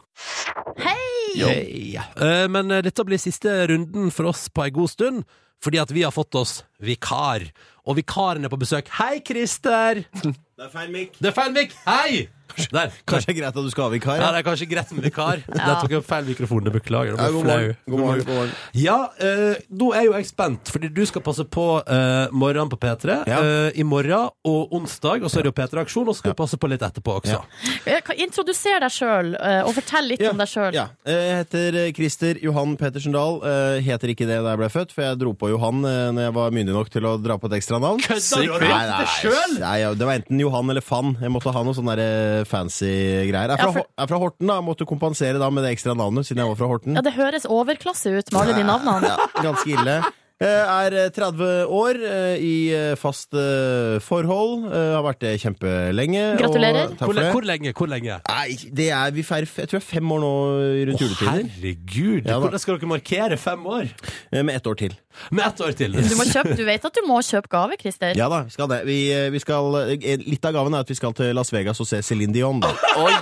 Hei! Eh, Men eh, dette blir siste runden for oss på ei god stund, fordi at vi har fått oss vikar. Og vikaren er på besøk. Hei, Christer! Det er feil mikk. Det er feil mikk! Hei! Der. Kanskje det er greit at du skal ha vikar? Ja, Ja. det er kanskje greit med vikar. Der tok jeg opp feil mikrofon. Det beklager. Ja, Jeg god ble flau. morgen. God morgen, god morgen. Ja, eh, nå er jo jeg spent, fordi du skal passe på eh, morgenen på P3 Ja. eh, i morgen og onsdag, og så er det jo P3-aksjon, og så skal du passe på litt etterpå også. Eh, kan- Introduser deg sjøl, og fortell litt om deg sjøl. Ja. Eh, Jeg heter eh, Christer Johan Pettersen Dahl. Eh, Heter ikke det da jeg ble født, for jeg dro på Johan eh, når jeg var myndig nok til å dra på et ekstra navn. Kødder du? Har du Nei, valgt nei, det selv? nei, ja, det var enten Johan eller Fan. Jeg måtte ha noe sånn der, eh, fancy greier. Jeg er Ja, for- fra, Hor- jeg er fra Horten, da. Jeg måtte kompensere da med det ekstra navnet, siden jeg var fra Horten. Ja, det høres overklasse ut med alle de navnene. Ja, ganske ille. Eh, Er 30 år, eh, i eh, fast eh, forhold. eh, Har vært det kjempelenge. og- Gratulerer. Takk for Hvor, det. hvor lenge? Hvor lenge? Nei, det er, vi feirer f- jeg tror det er fem år nå eh, rundt juletider. herregud! Ja, da. hvordan skal dere markere fem år? Eh, Med ett år til. Med ett år til! Du, må kjøpe, du vet at du må kjøpe gave, Christer? Ja da, vi skal det. Vi, eh, vi skal, eh, litt av gaven er at vi skal til Las Vegas og se Céline Dion. Da. Oi,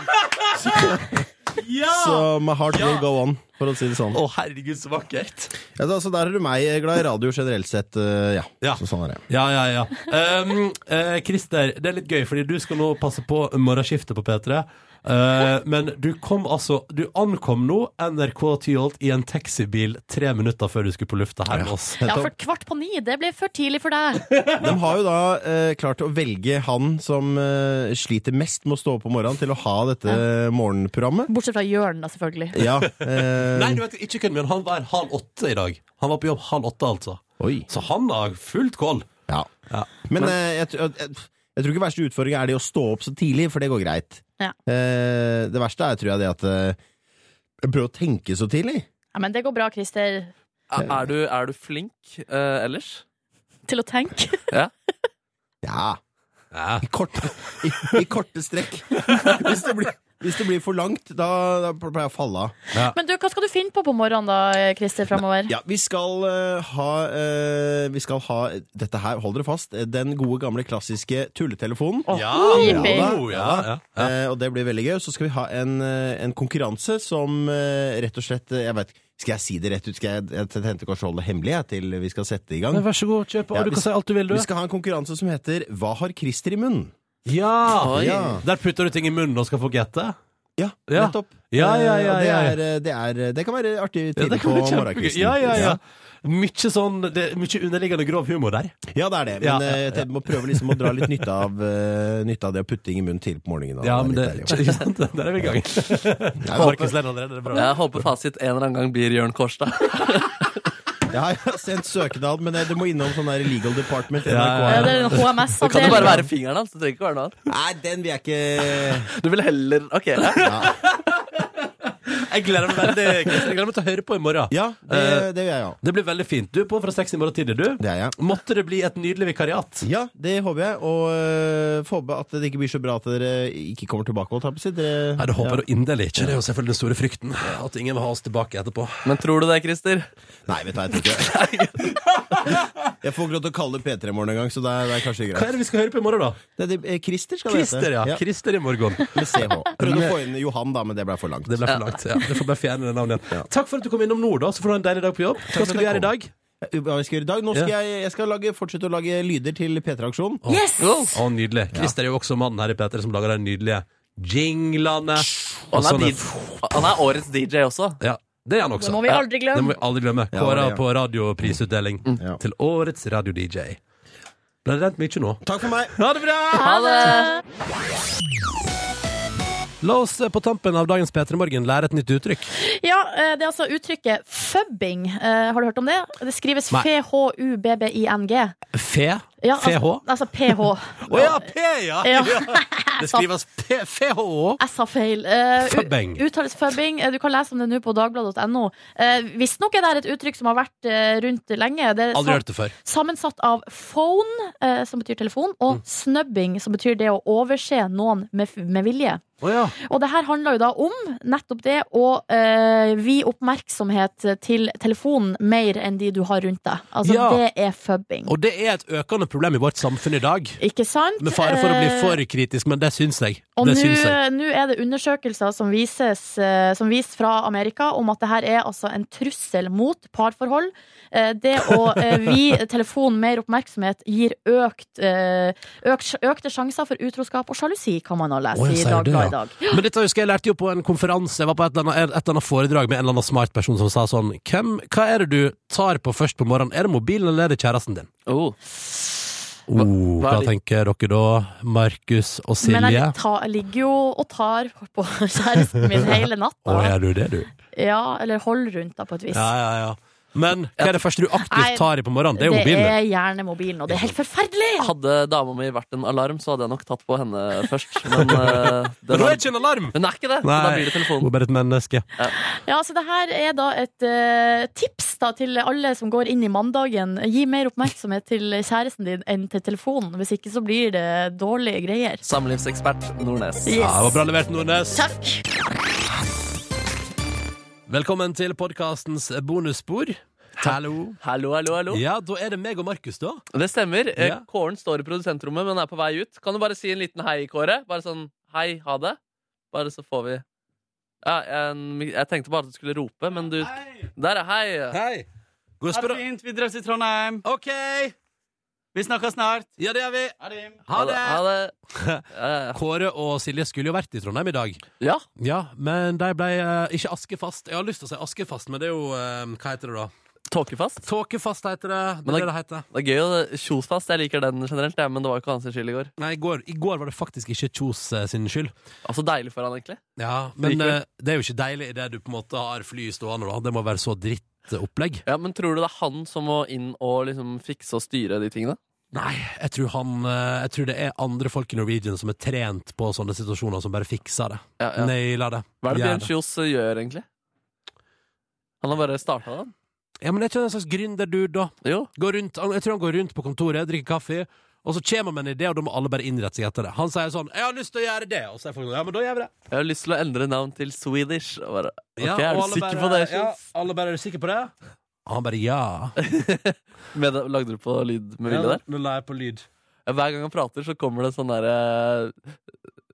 Så my heart will go on, for å si det sånn. Å, herregud, så vakkert! Ja, da, så der er du meg eh, glad i radio generelt sett. eh, Ja, Ja. Så sånn er det. Ja, ja, ja. Um, eh, Christer, det er litt gøy, fordi du skal nå passe på morgenskiftet på P3. Eh, men du kom altså Du ankom nå NRK Tyholt i en taxibil tre minutter før du skulle på lufta her med oss. Ja, for kvart på ni, det ble for tidlig for deg. De har jo da eh, klart å velge han som eh, sliter mest med å stå opp om morgenen, til å ha dette morgenprogrammet. Bortsett fra Jørn, da, selvfølgelig. Ja, eh, Nei, du vet ikke kun, men han var her halv åtte i dag. Han var på jobb halv åtte, altså. Oi. Så han har fullt kål. Ja. Ja. Men, eh, jeg, tr- jeg, jeg tror ikke verste utfordring er det å stå opp så tidlig, for det går greit. Ja. Eh, det verste er, tror jeg, det at eh, jeg prøver å tenke så tidlig. Ja, men det går bra, Christer. er, er du, er du flink eh, ellers? Til å tenke. Ja, Ja. i korte, i, i korte strekk. Hvis det blir Hvis det blir for langt, da, da pleier jeg å falle av. Men du, hva skal du finne på på morgenen da, eh, Christer, framover? Ja, vi skal eh, ha eh, Vi skal ha Dette her, hold dere fast. eh, Den gode, gamle, klassiske tulletelefonen. Ja, ja, jippi. da, Oh, ja, ja, da. Eh, og det blir veldig gøy. Så skal vi ha en, eh, en konkurranse som eh, rett og slett eh, Jeg vet, Skal jeg si det rett ut? Skal jeg, jeg tenkte kanskje å holde det hemmelig jeg, til vi skal sette i gang? Men vær så god, kjør på. Ja, du vi- kan si alt du vil, du. Vi skal ha en konkurranse som heter Hva har Christer i munnen? Ja. Oi. Der putter du ting i munnen og skal få gjette? Ja, ja. nettopp. Ja, ja, ja, Eh, ja, ja. og Det, er, eh, det, er, det kan være artig Ja, tidlig det kan på bli kjempegøy. morgenkvisten. Ja, ja, ja. Mykje sånn det, er Mykje underliggende grov humor der. Ja, det er det. Ja, Men eh, jeg tenker- må prøve liksom å dra litt nytte av, eh, nytte av det å putte ting i munnen til på morgenen. da. Ja, men Det er det, litt deilig. ikke sant? Der er vi i gang. Markus Lenn allerede, det er bra. Jeg håper fasit en eller annen gang blir Jørn Kårstad. Ja, jeg har sendt søknad, men eh, det må innom sånn der legal department. Ja, ja, ja. Ja, det er en HMS -avdeling. Det kan jo bare være fingeren hans, det trenger ikke være noe annet. Nei, den vil jeg ikke Du vil heller Ok. Ja. Jeg gleder meg veldig Kristian. Jeg gleder meg til å høre på i morgen. Eh, Ja, det- det gjør jeg Det blir veldig fint. Du er på fra seks i morgen tidlig, du. Det er jeg. Måtte det bli et nydelig vikariat. Ja, det håper jeg. Og eh, får håpe at det ikke blir så bra at dere ikke kommer tilbake. Holdt jeg på å si. Dere- Nei, det håper jeg ja. da inderlig ikke. Det er jo selvfølgelig den store frykten. At ingen vil ha oss tilbake etterpå. Men tror du det, Christer? Nei, vet du hva, jeg tror ikke Jeg får ikke lov til å kalle det P3 i morgen engang, så det er, det er kanskje greit. Hva er det vi skal høre på i morgen, da? Det, er det, eh, Christer skal det Christer, ja. hete. Christer i morgen. Med CH. Prøvde å få inn Johan, da, men det ble for langt. Det ble for langt. ja. Du får bare fjerne det navnet igjen. Takk for at du kom innom Nord, da. Så får du ha en deilig dag på jobb. Hva skal du gjøre i dag? Hva vi skal gjøre i dag? Nå skal jeg, jeg skal lage, fortsette å lage lyder til P3-aksjonen. Å, å, nydelig. Christer er jo også mannen her i P3 som lager de nydelige jinglene. Han Og er, sånne- DJ, han er årets DJ også. Ja, det er han også. Det må vi aldri Ja, glemme. Det må vi aldri glemme. Ja, Kåra det, Mm. ja. på radioprisutdeling til årets radio-DJ. Ble det rent mye nå? Takk for meg. Ha det bra! Ha det! La oss eh, på tampen av dagens P3 Morgen lære et nytt uttrykk. Ja, eh, det er altså uttrykket fubbing. Eh, Har du hørt om det? Det skrives Nei. f-h-u-b-b-i-n-g. Fe? Ja, al- FH? Altså ph. Å ja, P, ja! Ja. Det skrives P- E FH. Jeg sa feil. Eh, u- Fubbing. Uttales fubbing. Eh, Du kan lese om det nå på dagbladet.no. Uh, Visstnok er det et uttrykk som har vært eh, rundt lenge. Det er Aldri sam- hørt det før. Sammensatt av phone, eh, som betyr telefon, og Mm. snubbing, som betyr det å overse noen med, f- med vilje. Å ja. Og det her handler jo da om nettopp det å uh, vie oppmerksomhet til telefonen mer enn de du har rundt deg. Altså, Ja. det er fubbing. Og det er et økende problem i vårt samfunn i dag. Ikke sant? Med fare for å bli Eh, for kritisk, men det syns jeg. Og Det nå syns jeg. nå er det undersøkelser som vises eh, Som vises fra Amerika om at det her er altså en trussel mot parforhold. Eh, Det å eh, vie telefonen mer oppmerksomhet gir økt, eh, økt, økte sjanser for utroskap og sjalusi, kan man ha lest Å, i jeg sier det, Dagbladet i ja. dag. Men dette husker jeg jeg lærte jo på en konferanse Jeg var på et eller annet, et eller annet foredrag med en eller annen smart person som sa sånn Hvem, Hva er det du tar på først på morgenen? Er det mobilen eller er det kjæresten din? Oh. Hva, hva hva er det- tenker dere da, Markus og Men jeg Silje? ta, jeg ligger jo og tar på kjæresten min hele Å, natta. er du det, du? Ja, eller holder rundt da, på et vis. Ja, ja, ja Men hva er det første du Nei, aktivt tar i på morgenen? Det er jo Det mobilen er gjerne mobilen, og det er helt forferdelig! Hadde dama mi vært en alarm, så hadde jeg nok tatt på henne først. Men eh, Men den du er er, ikke en alarm! hun er ikke det. Så da blir det telefonen. hun er bare et menneske Ja, så det her er da et eh, tips da, til alle som går inn i mandagen. Gi mer oppmerksomhet til kjæresten din enn til telefonen. Hvis ikke så blir det dårlige greier. Samlivsekspert Nordnes. Yes. Ja, det var bra levert, Nordnes Takk! Velkommen til podcastens bonusspor Hallo Hallo, hallo, hallo. Ja, da er det meg og Markus da Det stemmer. Eh, Ja. Kåren står i produsentrommet, men er på vei ut. Kan du bare si en liten hei, Kåre? Bare sånn hei, ha det. Bare så får vi ja, en, Jeg tenkte bare at du skulle rope, men du Der er hei. Hei Gå og Ha spør det fint. Vi drøfter i Trondheim. Ok Vi snakkes snart. Ja, det gjør vi Ha det. Ha det Ha det. Eh, Kåre og Silje skulle jo vært i Trondheim i dag. Ja. Ja, men de ble eh, ikke askefast. Jeg har lyst til å si askefast, men det er jo eh, Hva heter det da? Tåkefast. Tåkefast heter det. Det Men er da- det det heter. Det er gøy å Kjosfast. Jeg liker den generelt, jeg, men det var jo ikke hans skyld i går. Nei, i går, i går var det faktisk ikke Kjos eh, sin skyld. Altså deilig for han, egentlig. Ja, Det Men gikk vel. eh, det er jo ikke deilig idet du på en måte har fly stående, da. Det må være så dritt eh, opplegg. Ja, Men tror du det er han som må inn og liksom fikse og styre de tingene? Nei, jeg tror, han, eh, jeg tror det er andre folk i Norwegian som er trent på sånne situasjoner, som bare fikser det. Ja, ja. Nailer det. Hva er det Gjør Bjørn Kjos eh, gjør, egentlig? Han har bare starta den. Ja, men er ikke han en slags gründerdude, da? Jo. Går rundt, han- jeg tror han går rundt på kontoret, drikker kaffe, Og så kommer han med en idé, og da må alle bare innrette seg etter det. Han sier sånn 'Jeg har lyst til å gjøre det', og så er folk sånn 'Ja, men da gjør vi det'. Jeg har lyst til å endre navn til Swedish. Og bare, ok, Ja, og er du alle sikker bare, på det? Ja, Kjell? alle bare 'Er du sikker på det?' Og han bare 'Ja'. Med, lagde du på lyd med vilje Ja, der? Nå la jeg på lyd. Ja, Hver gang han prater, så kommer det sånn derre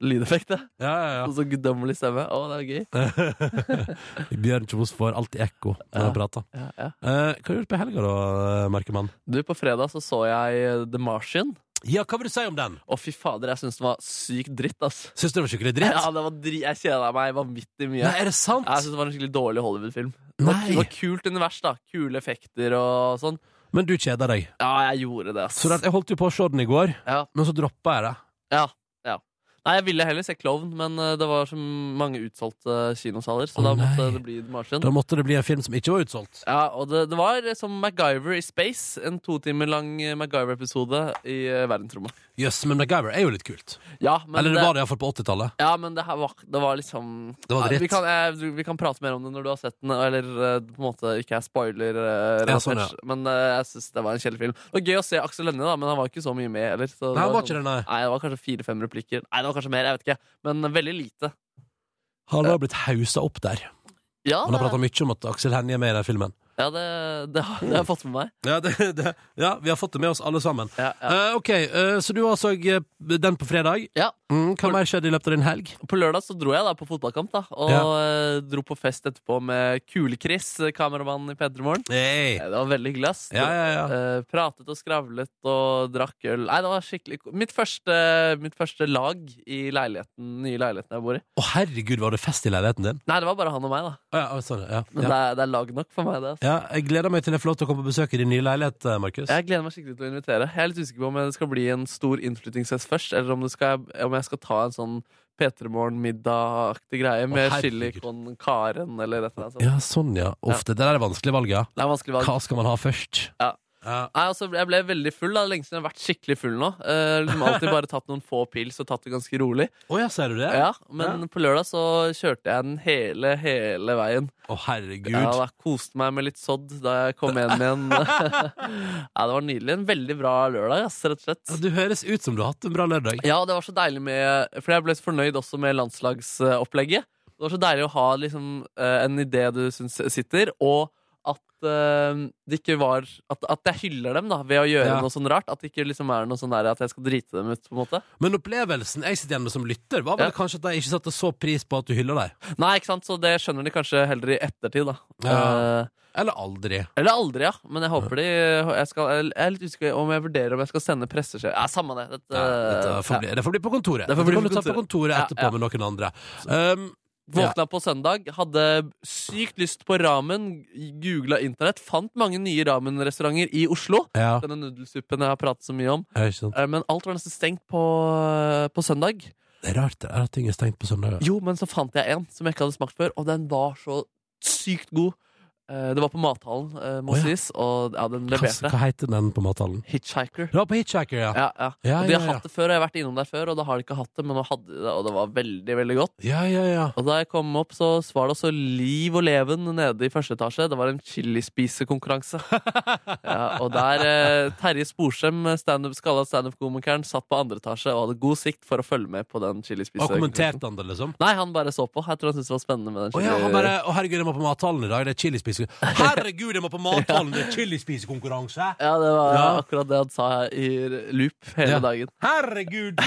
lydeffekt. Ja, Og så guddommelig stemme. Å, det er gøy. Bjørn Kjos får alltid ekko når han prater. Eh, hva har du gjort på helga, da, eh, Markemann? Du, På fredag så, så jeg eh, The Martian. Ja, Hva vil du si om den? Å, fy fader, jeg syns den var sykt dritt. ass Syns du det var skikkelig dritt? Ja, det var dri Jeg kjeda meg vanvittig mye. Nei, er det sant? Jeg syns det var en skikkelig dårlig Hollywood-film. Det var- Det var kult univers, da. Kule effekter og sånn. Men du kjeder deg. Ja, jeg gjorde det, ass. Så rart, jeg holdt jo på å se den i går, men så droppa jeg det. Ja, ja. Nei, jeg ville heller se Klovn, men eh, det var så mange utsolgte kinosaler, så da måtte det bli The Martian. Da måtte det bli en film som ikke var utsolgt. Ja, og det, det var eh, som MacGyver i space. En to timer lang eh, MacGyver-episode i eh, verdensrommet. Jøss, men MacGyver er jo litt kult. Ja, men Eller det det- var det iallfall på 80-tallet. Ja, men det, her var, det var liksom Det var Ja, dritt. Vi kan, eh, vi kan prate mer om det når du har sett den, eller eh, på en måte ikke er spoiler. eh, Ja, sånn, ja. relatert, Men eh, jeg syns det var en kjedelig film. Det var gøy å se Aksel Lennie, da, men han var ikke så mye med heller. så Nei, han var sånn- ikke det, nei. det var kanskje fire-fem replikker. Nei, det var kanskje mer, jeg vet ikke. Men veldig lite. Han har blitt hausa opp der. Ja, Han har det- prata mye om at Aksel Hennie er med i den filmen. Ja, det, det, har- det har jeg fått med meg. Ja, det, det, ja, vi har fått det med oss alle sammen. Eh, ok, eh, Så du så den på fredag? Ja. Mm, hva mer skjedde i løpet av din helg? På lørdag så dro jeg da på fotballkamp, da og eh, dro på fest etterpå med Kule-Chris, eh, kameramannen i P3 Morgen. Eh, Det var veldig glass. Ja, ja, Eh, pratet og skravlet og drakk øl. Nei, det var skikkelig ko- Mitt første, mitt første lag i leiligheten, nye leiligheten jeg bor i. Å, herregud, var det fest i leiligheten din? Nei, det var bare han og meg, da. Å, ja, å, sorry, ja, Men det, ja. er, det er lag nok for meg, det. Altså. ja, Jeg gleder meg til jeg får lov til å komme på besøk i din nye leilighet, eh, Markus. Jeg gleder meg skikkelig til å invitere. Jeg er litt usikker på om det skal bli en stor innflyttingsfest først, eller om, det skal, om jeg skal ta en sånn P3 Morgen-middagaktig greie med chili con Karen eller et eller annet sånt. Ja, sånn, ja. Uff, det der er vanskelige valg, ja. Det er vanskelig valg. Hva skal man ha først? Ja. Nei, altså, jeg ble veldig full. da Lenge siden jeg har vært skikkelig full nå. Eh, liksom alltid bare tatt noen få pils og tatt det ganske rolig. Å ja, sier du det? Ja, Men på lørdag så kjørte jeg den hele, hele veien. Å, herregud. Ja, da Koste meg med litt sodd da jeg kom hjem igjen. ja, Det var nydelig. En veldig bra lørdag, ass, rett og slett. Du høres ut som du har hatt en bra lørdag. Ja, det var så deilig med For jeg ble så fornøyd også med landslagsopplegget. Det var så deilig å ha liksom, eh, en idé du syns sitter, og at eh, det ikke var At, at jeg hyller dem da ved å gjøre Ja. noe sånn rart. At det ikke liksom er noe sånn der at jeg skal drite dem ut. på en måte Men opplevelsen jeg sitter igjen med som lytter, var vel Ja. kanskje at jeg ikke satte så pris på at du hyller deg. Nei, ikke sant, så det skjønner de kanskje heller i ettertid, da. Ja. Eh, Eller aldri. eller aldri, ja. Men jeg håper de Jeg, skal, jeg er litt usikker om jeg vurderer om jeg skal sende pressesjef Ja, samme det. Dette, Dette får bli, Eh, ja. det får bli på kontoret. Det får Det bli kan på du ta på kontoret kontoret. etterpå Ja, ja. med noen andre. Um, Våkna på søndag, hadde sykt lyst på ramen, googla internett, fant mange nye ramenrestauranter i Oslo. Ja. Denne nudelsuppen jeg har pratet så mye om. Ja, ikke sant? Eh, Men alt var nesten stengt på, eh, på søndag. Det er rart det er at ting er stengt på søndager. Jo, men så fant jeg en som jeg ikke hadde smakt før, og den var så sykt god. Eh, Det var på mathallen, eh, må Å, ja. sies, og ja, den Hva, leverte. hva heter den på mathallen? Hitchhiker. Det var på Hitchhiker, ja. Ja, ja. Ja, og de har ja, ja. hatt det før, og jeg har vært innom der før, og da har de ikke hatt det, men nå hadde de det, og det var veldig, veldig godt. Ja, ja, ja. Og da jeg kom opp, så var det også liv og leven nede i første etasje. Det var en chilispisekonkurranse. ja, og der eh, Terje Sporsem, standup- skalla standup-komikeren, satt på andre etasje og hadde god sikt for å følge med på den Og chilispisekonkurransen. kommenterte han det, liksom? Nei, han bare så på. Jeg tror han syntes det var spennende med den Å chili... ja, han bare Å, herregud, jeg må på mathallen i dag. Det er chilispising. Herregud, jeg må på mathallen! Det er chilispisekonkurranse! Ja, det var Ja. akkurat det han sa i loop hele Ja. dagen. Herregud!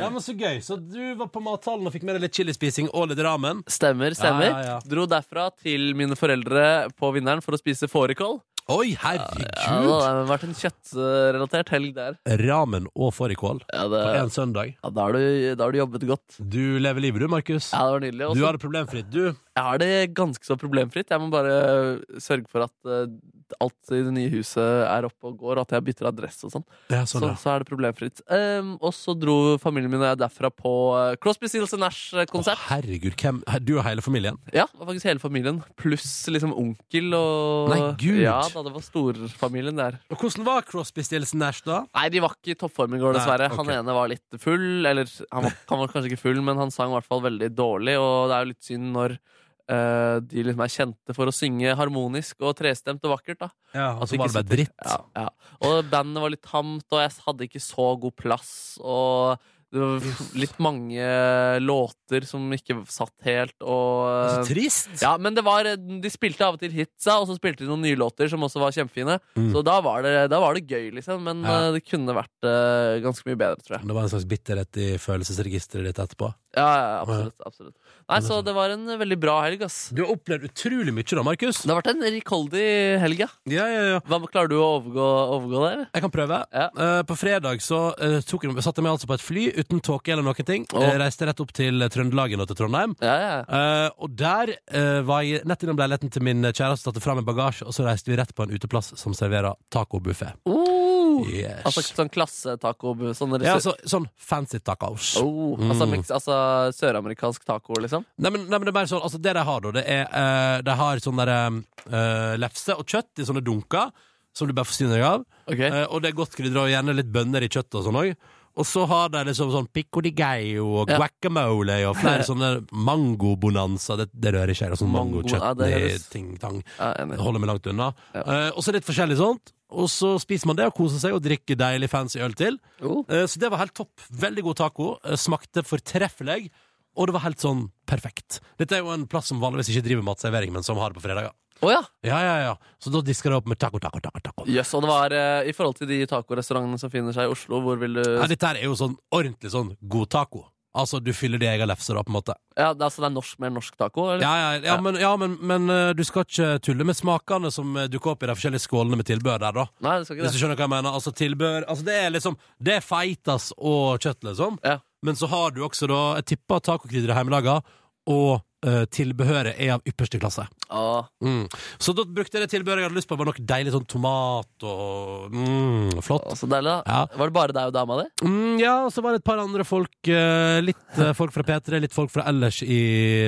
Ja, men Så gøy. Så du var på mathallen og fikk med deg litt chilispising og litt ramen? Stemmer, stemmer. Ja, ja, ja. Dro derfra til mine foreldre på Vinneren for å spise fårikål. Oi, Ja, herregud! det har vært en kjøttrelatert helg der. Ramen og fårikål på én søndag. Ja, da har, du, da har du jobbet godt. Du lever livet, du, Markus. Ja, det var nydelig. Også- Du har det problemfritt, du. Jeg har det ganske så problemfritt. Jeg må bare øh, sørge for at øh, alt i det nye huset er oppe og går, og at jeg bytter adresse og sånn. Ja, sånn, så, ja. så er det problemfritt. Ehm, og så dro familien min og jeg derfra på øh, Crosby, Stills Nash-konsert. Herregud, hvem Du og hele familien? Ja, det var faktisk hele familien. Pluss liksom onkel og Nei, Gud. Ja, da, det var storfamilien der. Og hvordan var Crosby Stills Nash, da? Nei, de var ikke i toppform i går, Nei, dessverre. ok. Han ene var litt full, eller han var, han var kanskje ikke full, men han sang i hvert fall veldig dårlig, og det er jo litt synd når eh, de liksom er kjente for å synge harmonisk og trestemt og vakkert. da Ja, At og så Altså, det var ikke det bare sitter- dritt. Ja, ja. Og bandet var litt tamt, og jeg hadde ikke så god plass. Og det var litt mange låter som ikke satt helt, og Så trist! eh, Ja, men det var, eh, de spilte av og til hitsa, og så spilte de noen nye låter som også var kjempefine. Mm. Så da var, det, da var det gøy, liksom. Men Ja. eh, det kunne vært eh, ganske mye bedre, tror jeg. Det var en slags bitterhet i følelsesregisteret ditt etterpå. Ja, ja, ja, absolutt, absolutt. Nei, Så det var en veldig bra helg. ass Du har opplevd utrolig mye, da, Markus. Det har vært en rikholdig helg, ja. Hva, klarer du å overgå, overgå det? eller? Jeg kan prøve. Eh, på fredag så eh, tok, jeg- satte jeg meg altså på et fly uten tåke eller noen ting. Åh. Eh, reiste rett opp til eh, Trøndelagen og til Trondheim. Eh, og der eh, var jeg nett innom leiligheten til min kjæreste, satte fra meg bagasje, og så reiste vi rett på en uteplass som serverer tacobuffé. Oh, Yes. Altså sånn klassetaco? Sånn, Ja, altså, sånn fancy tacos. oh, altså, Mm. meks- altså søramerikansk taco, liksom? Nei, men, nei, men det er bare sånn Altså, det de har, da, det er eh, De har sånn derre eh, lefse og kjøtt i sånne dunker, som du bare forsyner deg av. Eh, og det er godt krydder, og gjerne litt bønner i kjøttet og sånn òg. Og så har de liksom sånn pico di gallo og Ja. guacamole og flere sånne mangobonanza. Det, det rører ikke jeg. og Sånn Mango- ja, mangokjøtt det i høres- ting-tang. Ja, enig. Holder meg langt unna. Eh, og så litt forskjellig sånt. Og så spiser man det og koser seg og drikker deilig fancy øl til. Oh. Eh, så det var helt topp. Veldig god taco. Eh, smakte fortreffelig. Og det var helt sånn perfekt. Dette er jo en plass som vanligvis ikke driver matservering, men som har det på fredager. Å ja. Ja, ja, ja. Så da disker det opp med taco, taco, taco. taco. Jøss, og det var eh, i forhold til de tacorestaurantene som finner seg i Oslo, hvor vil du Ja, dette her er jo sånn ordentlig sånn god taco. Altså, du fyller din egen lefse, da, på en måte. Ja, det, altså, det er norsk, mer norsk taco? Eller? Ja, ja, ja, men, ja men, men eh, du skal ikke tulle med smakene som eh, dukker opp i de forskjellige skålene med tilbør der, da. Nei, det skal ikke Hvis du det. skjønner hva jeg mener. Altså, tilbør Altså, det er liksom Det er feitas og kjøtt, liksom. Men så har du også, da, jeg tipper tacokrydderet hjemmelaga, og eh, tilbehøret er av ypperste klasse. Ah. Mm. Så da brukte jeg det tilbehøret jeg hadde lyst på. Det var noe deilig sånn tomat og mm, Flott. Så deilig, da. Var det bare deg og dama di? Mm, ja, og så var det et par andre folk. eh, litt eh, folk fra P3, litt folk fra ellers i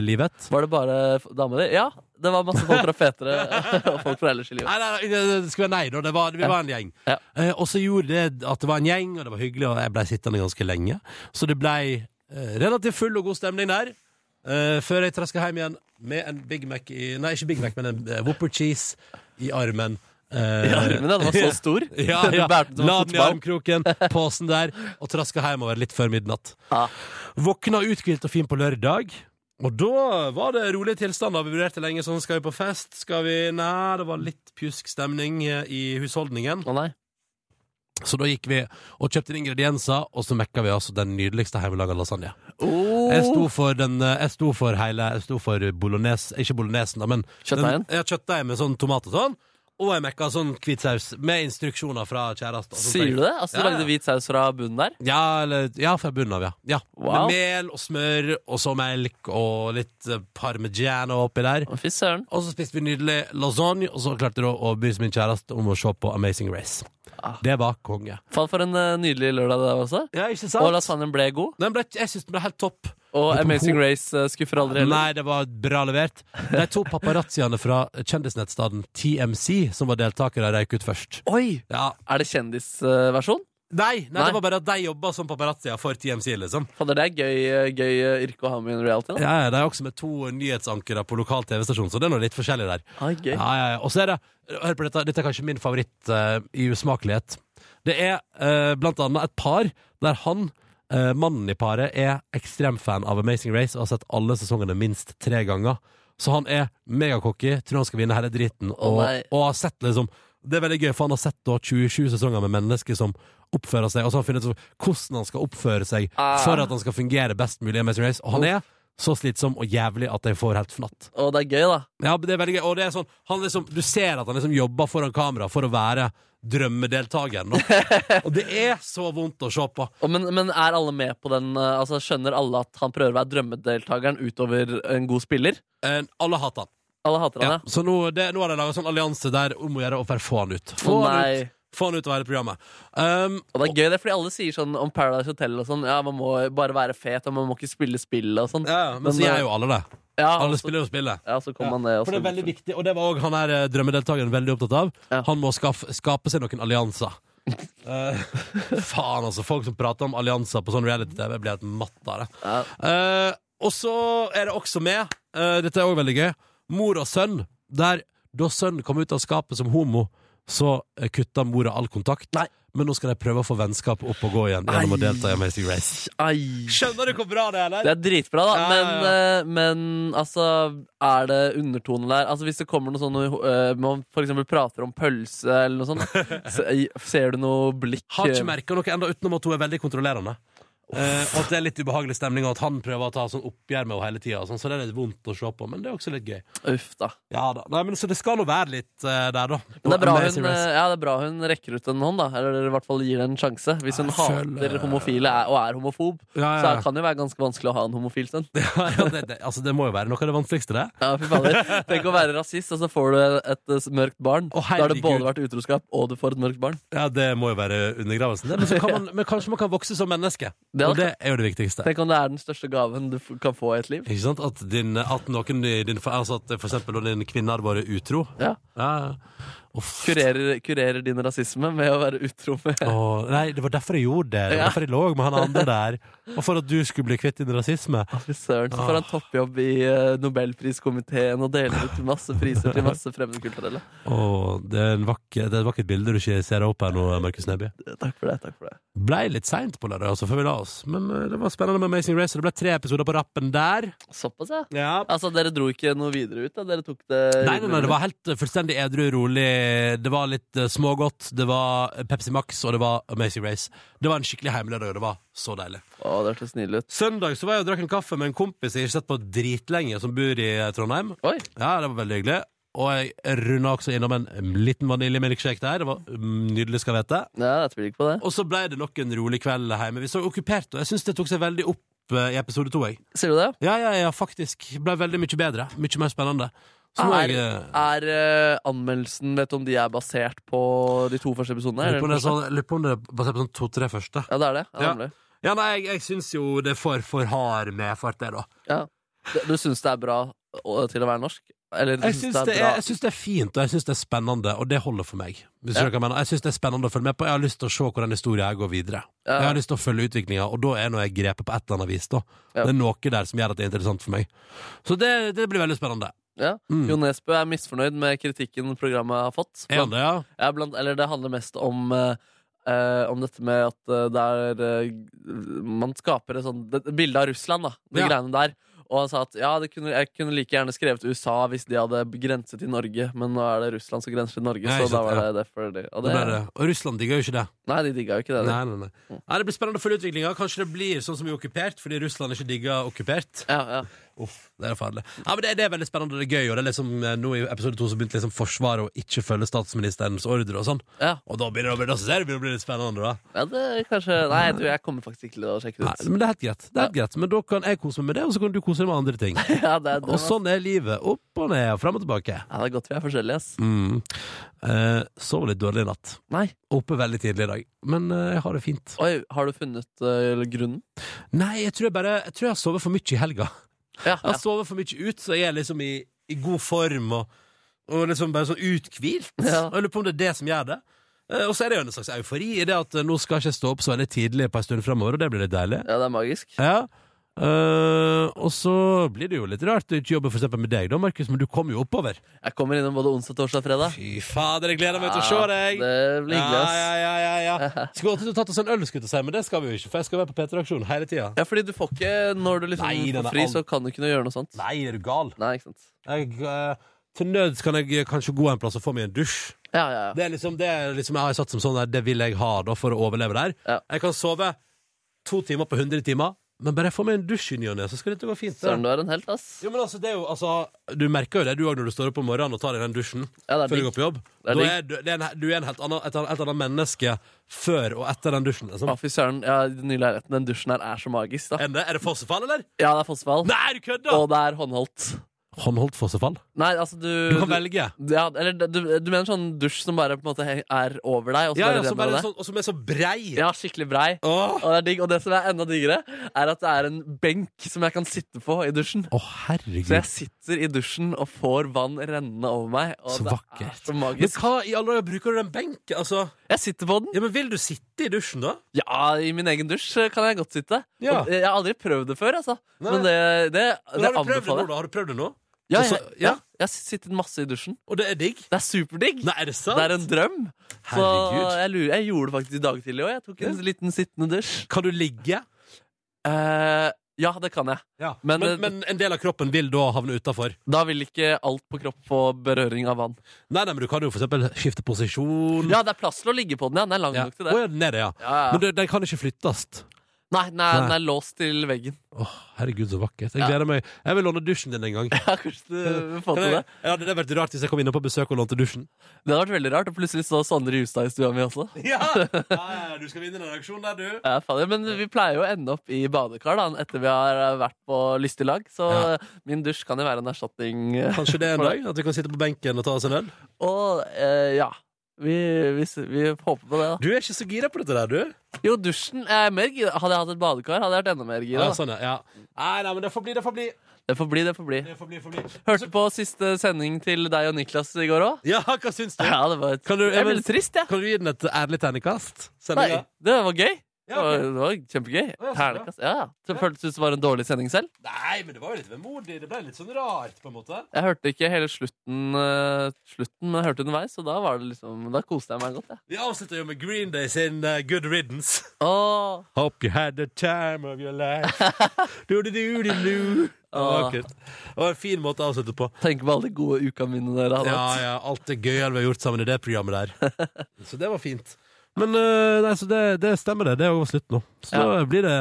livet. Var det bare f- dama di? Ja, det var masse folk fra fetere og folk fra ellers i livet. Nei, nei, nei, det- det skulle være nei, da. Det var, vi var en gjeng. Eh, og så gjorde det at det var en gjeng, og det var hyggelig, og jeg blei sittende ganske lenge. Så det blei eh, relativt full og god stemning der. eh, før jeg traska hjem igjen med en Big Mac i Nei, ikke Big Mac, men en eh, Whopper cheese i armen. Eh, I armen, ja, den var så stor. ja, Du ja. La bærte den som den en i fotball. armkroken, posen der, og traska hjemover litt før midnatt. Våkna uthvilt og fin på lørdag. Og da var det rolige tilstander. Vi vurderte lenge sånn, skal vi på fest? Skal vi Nei, det var litt pjusk stemning eh, i husholdningen. Så da gikk vi og kjøpte inn ingredienser, og så mekka vi altså den nydeligste hjemmelaga lasagne. Oh. Jeg sto for den eh, Jeg sto for hele Jeg sto for bolognese Ikke bolognesen da, men Kjøttdeigen? den- Ja, kjøttdeig med sånn tomat og sånn Og jeg mekka sånn hvit saus Med instruksjoner fra kjæreste og sånt. Sier du det? Altså, Du Ja, ja. lagde hvit saus fra bunnen der? Ja, eller, ja, fra bunnen av, ja, ja. Wow. Med mel og smør Og så melk og litt eh, parmigiano oppi der Og så spiste vi nydelig lasagne Og så klarte jeg da å bry min kjæreste om å se på Amazing Race Ah. Det var konge Faen, for en eh, nydelig lørdag det der også. Ja, ikke sant? Og lasagnen ble god. Den ble, jeg synes den ble helt topp. Og Men på Amazing ho- Race eh, skuffer aldri heller. Nei, det var bra levert. De to paparazziene fra kjendisnettstaden TMC som var deltakere, røyk ut først. Oi! Ja. Er det kjendisversjon? Nei, nei, det var bare at de jobba som paparazzier for TMC, liksom. Fader, det er gøy, gøy eh, yrke å ha med i en reality. Da. Ja, ja, De er også med to nyhetsankere på lokal TV-stasjon, så det er noe litt forskjellig der. Ah, gøy. Ja, ja, ja. Og så er det Hør på dette, dette er kanskje min favoritt eh, i usmakelighet. Det er eh, blant annet et par der han, eh, mannen i paret, er ekstremfan av Amazing Race og har sett alle sesongene minst tre ganger. Så han er megacocky, tror han skal vinne hele driten, og, nei. og har sett liksom det er veldig gøy, for han har sett da 27 sesonger med mennesker som oppfører seg, og så har han funnet ut hvordan han skal oppføre seg Ah. for at han skal fungere best mulig i Amazing Race. Og han er så slitsom og jævlig at jeg får helt fnatt. Og det er gøy, da. Ja, men det er veldig gøy. Og det er sånn, han liksom, du ser at han liksom jobber foran kamera for å være drømmedeltakeren. nå. Og det er så vondt å se på. Og Men, men er alle med på den? eh, Altså Skjønner alle at han prøver å være drømmedeltakeren utover en god spiller? Eh, alle hater han. Alle hater han, Ja, ja. så nå, det, nå har de laga sånn allianse der om å gjøre å bare få han ut. Få Å, han nei. ut, få han ut av hele programmet. Um, og det er gøy, det, fordi alle sier sånn om Paradise Hotel og sånn Ja, man må bare være fet, og man må ikke spille spill og sånn. Ja, Men eh, så gjør jo alle det. Ja, alle også- spiller jo spillet. Ja, så kommer man det også. For det er veldig viktig, og det var òg han her eh, drømmedeltakeren veldig opptatt av. Han må skaff- skape seg noen allianser. Eh, faen, altså. Folk som prater om allianser på sånn reality-TV, blir helt matt av det. Eh, og så er det også med eh, dette er òg veldig gøy. Mor og sønn, der da sønnen kom ut av skapet som homo, så eh, kutta mora all kontakt. Men nå skal de prøve å få vennskapet opp og gå igjen gjennom å delta i Amazing Race. Skjønner du hvor bra det er, eller? Det er dritbra, da, Ja, men, ja, eh, men altså Er det undertone der? Altså Hvis det kommer noe sånn eh, Man f.eks. prater om pølse eller noe sånt, se- ser du noe blikk Har ikke merka noe ennå, utenom at hun er veldig kontrollerende. Eh, og at det er litt ubehagelig stemning, og at han prøver å ta sånn oppgjør med henne hele tida. Sånn, så det er litt vondt å se på, men det er også litt gøy. eh, Uff da. Ja da. Nei, men, så det skal nå være litt eh, der, da. Men det er, bra Amazing hun, eh, Race. ja, det er bra hun rekker ut en hånd, da. Eller i hvert fall gir det en sjanse. Hvis hun hater homofile er, og er homofob, Ja, ja, så ja. kan det jo være ganske vanskelig å ha en homofil sønn. Ja, det, det, altså, det må jo være noe av det vanskeligste, det. Ja, fy fader. Tenk å være rasist, og så får du et, eh, mørkt barn. da har det herregud. både vært utroskap, og du får et mørkt barn. Ja, Det må jo være undergravelsen. Det. Men, så kan man, men kanskje man kan vokse som menneske. Det er og det er jo det viktigste. Tenk om det er den største gaven du f kan få i et liv. Ikke sant? At, din, at noen i din Altså at for eksempel når din kvinne hadde vært utro. Ja. Kurerer, kurerer din rasisme med å være utro med Og, nei, det var derfor jeg gjorde det. Det var Ja. derfor jeg lå med han andre der. Og for at du skulle bli kvitt din rasisme. Fy Søren, så får han toppjobb i eh, Nobelpriskomiteen og deler ut masse priser til masse fremmedkulturelle. Åh, det, er en vakker, det er et vakkert bilde du ikke ser opp her nå, Markus Neby. Takk for det. takk for det Blei litt seint på lørdag, altså, før vi la oss. Men eh, det var spennende med Amazing Race, og det ble tre episoder på rappen der. Såpass, ja. ja. Altså, Dere dro ikke noe videre ut? da? Dere tok det Nei, nei, nei, det var helt eh, fullstendig edru, rolig. Det var litt eh, smågodt. Det var eh, Pepsi Max, og det var Amazing Race. Det var en skikkelig heimelørdag, og det var så deilig. Å, det hørtes nydelig ut. Søndag så var jeg og drakk en kaffe med en kompis jeg ikke har sett på dritlenge, som bor i eh, Trondheim. Ja, det var veldig hyggelig. Og jeg runda også innom en liten vaniljemilkshake der. Det var mm, nydelig, skal vete. Ja, jeg tviler ikke på det. Og så ble det nok en rolig kveld hjemme. Vi så okkupert, og jeg syns det tok seg veldig opp eh, i episode to. jeg. Sier du det? Ja, ja, ja, faktisk. Ble veldig mye bedre. Mye mer spennende. Så må Er, jeg eh, er eh, anmeldelsen Vet du om de er basert på de to første episodene? Lurer på om det er eller? sånn, lurer på om det er basert på sånn to-tre første. Ja, det er det. Ja, Ja. nemlig. Ja, nei, jeg, jeg syns jo det er for, for hard medfart, det, da. Ja. Du- Du syns det er bra å- til å være norsk? Eller du Jeg syns det, bra- er- jeg syns det er fint, og jeg syns det er spennende, og det holder for meg. Hvis du Ja. skjønner hva jeg mener. Jeg syns det er spennende å følge med på. Jeg har lyst til å se hvordan historien her går videre. Ja. Jeg har lyst til å følge utviklinga, og da er nå jeg grepet på et eller annet vis, da. Det er noe der som gjør at det er interessant for meg. Så det, det blir veldig spennende. Ja. Jo Nesbø er misfornøyd med kritikken programmet har fått. Er han det, Mm. ja? blant, eller det handler mest om eh, eh, om dette med at eh, det er eh, Man skaper et sånt det- et bilde av Russland, da. De Ja. greiene der. Og han sa at ja, det kunne, jeg kunne like gjerne skrevet USA hvis de hadde grenset til Norge, men nå er det Russland som grenser til Norge, Nei, så ikke da sant, var ja. det derfor det, og Det ble det. Og Russland digger jo ikke det. Nei, de digga jo ikke det. de. Nei, nei, nei. Nei, det blir spennende å følge utviklinga. Kanskje det blir sånn som i Okkupert, fordi Russland ikke digger okkupert. Uff, det er farlig. Ja, men det, det er veldig spennende og det er gøy. Og det er liksom, eh, nå I episode to så begynte liksom Forsvaret å ikke følge statsministerens ordre og sånn. Og da begynner det å bli, da synes jeg det begynner å bli litt spennende, da. Ja, det er kanskje Nei, du, jeg kommer faktisk ikke til å sjekke det ut. Nei, men det er helt greit. Det er helt greit. Men da kan jeg kose meg med det, og så kan du kose deg med andre ting. Ja, det er det, og sånn er livet. Opp og ned, fram og tilbake. Ja, det er godt vi er forskjellige, ass. Mm. Eh, sov litt dårlig i natt. Nei. Oppe veldig tidlig i dag. Men eh, jeg har det fint. Oi, har du funnet eh, grunnen? Nei, jeg tror jeg bare Jeg tror jeg har sovet for mye i helga. Ja, Jeg har sovet for mye ut, så jeg er liksom i, i god form og, og liksom bare sånn uthvilt. Og jeg lurer på om det er det som gjør det. Eh, Og så er det jo en slags eufori i det at eh, nå skal jeg ikke stå opp så veldig tidlig på en stund framover, og det blir litt deilig. Ja, det er magisk. Eh, og så blir det jo litt rart å ikke jobbe for eksempel med deg da, Markus, men du kommer jo oppover. Jeg kommer innom både onsdag, torsdag og fredag. Fy fader, jeg gleder meg til å se deg! Det blir hyggelig, ass. Ja, ja, ja, ja, ja. Skulle alltid tatt oss en øl, skulle jeg til å si, men det skal vi jo ikke, for jeg skal være på P3-aksjon hele tida. Ja, fordi du får ikke Når du liksom Nei, den er får fri, alt- så kan du ikke noe gjøre noe sånt. Nei, er du gal? Nei, ikke sant. Jeg, eh, til nøds kan jeg eh, kanskje gå en plass og få meg en dusj. Ja, ja, ja. Det er liksom det er liksom, jeg har satt som sånn der, det vil jeg ha da for å overleve der. Jeg kan sove to timer på 100 timer, men bare jeg får meg en dusj i ny og ne, så skal dette gå fint. det. Søren, du er en helt, ass. Jo, men altså, det er jo, altså Du merker jo det, du òg, når du står opp om morgenen og tar deg den dusjen Ja, det før er du digg. går på jobb. Det er da digg. er du, det er en, du er en helt annen, et, helt annet menneske før og etter den dusjen. Liksom. Å, fy søren. Ja, i den nye leiligheten, den dusjen her er så magisk, da. Er det fossefall, eller? Ja, det er fossefall. Nei, du kødder! Og det er håndholdt. Håndholdt fossefall? Nei, altså du Du kan velge. Ja, eller du, du mener sånn dusj som bare på en måte he- er over deg, og så Ja, ja, bare som renner bare det? sånn- og som er så brei. Ja, skikkelig brei. Og det er digg. Og det som er enda diggere, er at det er en benk som jeg kan sitte på i dusjen. Herregud. Så jeg sitter i dusjen og får vann rennende over meg. Og Så det vakkert. er så magisk. Men hva i alle dager bruker du den benken? Altså, jeg sitter på den. Ja, men Vil du sitte i dusjen, da? Ja, i min egen dusj eh, kan jeg godt sitte. Ja. Og, eh, jeg har aldri prøvd det før, altså. Nei. Men det, det, Men det har, du prøvd det nå, anbefaler da? har du prøvd det nå? Ja, Og så- jeg, ja. jeg har sittet masse i dusjen. Og det er digg? Det er superdigg. Nei, er det sant? Det er en drøm. Så Herregud. jeg, lurer, jeg gjorde det faktisk i dag tidlig òg. Jeg tok en liten sittende dusj. Eh, Kan du ligge? ja, det kan jeg. Ja. Men, Men, eh, men, en del av kroppen vil da havne utafor? Da vil ikke alt på kropp få berøring av vann. Nei, nei, men du kan jo for eksempel skifte posisjon. Ja, det er plass til å ligge på den. Ja. Den er lang Mm. Ja. nok til det. Å, ja, den er det, ja. Ja, ja. Men du, den kan ikke flyttes. Nei, nei, den Nei. er låst til veggen. Åh, herregud, så vakkert. Jeg Ja. gleder meg. Jeg vil låne dusjen din en gang. Ja, kanskje du vil få Kan til jeg- det. Ja, det hadde vært rart hvis jeg kom innom på besøk og lånte dusjen. Det hadde vært veldig rart. Og plutselig så Sondre Justad i stua mi også. du skal vinne den auksjonen der, du. Ja, fader, men vi pleier jo å ende opp i badekar da, etter vi har eh, vært på lystig lag, så eh, min dusj kan jo være en erstatning. eh, Kanskje det en for dag? At vi kan sitte på benken og ta oss en øl? Og eh, ja, vi, vi, vi håper på det, da. Du er ikke så gira på dette der, du. Jo, dusjen er mer gira. Hadde jeg hatt et badekar, hadde jeg vært enda mer gira. Ja, da. sånn, ja. ja. Nei, nei, men det får bli, det får bli. Det får bli, det får bli. Det får bli, får bli. Hørte på siste sending til deg og Niklas i går òg. Ja, hva syns du? Ja, det var et... Kan du, Jeg er veldig trist, jeg. Kan du gi den et ærlig ternekast? Nei, Sendinga? det var gøy. Det Ja, var, ok. det var kjempegøy. Å, ja, så bra. Ternekast. Ja, ja. Så Føltes det ut som det var en dårlig sending selv? Nei, men det var jo litt vemodig. Det ble litt sånn rart, på en måte. Jeg hørte ikke hele slutten, eh, slutten men jeg hørte underveis, og da, var det liksom, da koste jeg meg godt. Jeg. Vi avslutter jo med Green Day sin eh, Good Riddance. Åh, Hope you had the time of your life. Do-do-do-do-do. Åh. Det var en fin måte å avslutte på. tenk på alle de gode ukene mine dere hadde Ja, hatt. ja, alt det gøyale vi har gjort sammen i det programmet der. Så det var fint. Men eh, nei, så det, det stemmer, det. Det er jo slutt nå. Så Ja. da blir det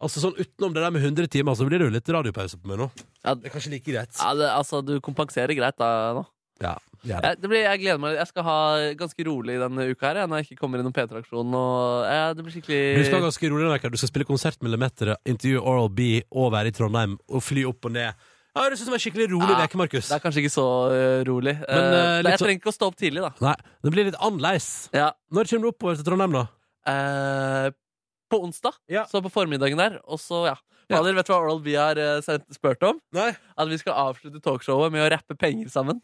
Altså sånn Utenom det der med 100 timer, så blir det jo litt radiopause på meg nå. Ja. Det er kanskje like greit. Ja, det, altså, du kompenserer greit da nå. Ja, ja. Jeg, det blir, jeg gleder meg. Jeg skal ha ganske rolig denne uka her, jeg, når jeg ikke kommer innom P3-aksjonen. og, eh, Det Du blir skal ha skikkelig ganske rolig denne uka. Du skal spille konsert med Lemetere, intervjue Oral B og være i Trondheim og fly opp og ned. Ja, det synes jeg er en skikkelig rolig Ja, uke, Markus. Det er kanskje ikke så eh, rolig. Eh, Men, eh, litt jeg så- trenger ikke å stå opp tidlig, da. Nei, det blir litt annerledes. Ja. Når kommer du oppover til Trondheim, da? Eh, på onsdag, Ja. så på formiddagen der, og så, ja. Fader, vet du hva Oral B har eh, sendt- spurt om? Nei. At vi skal avslutte talkshowet med å rappe penger sammen.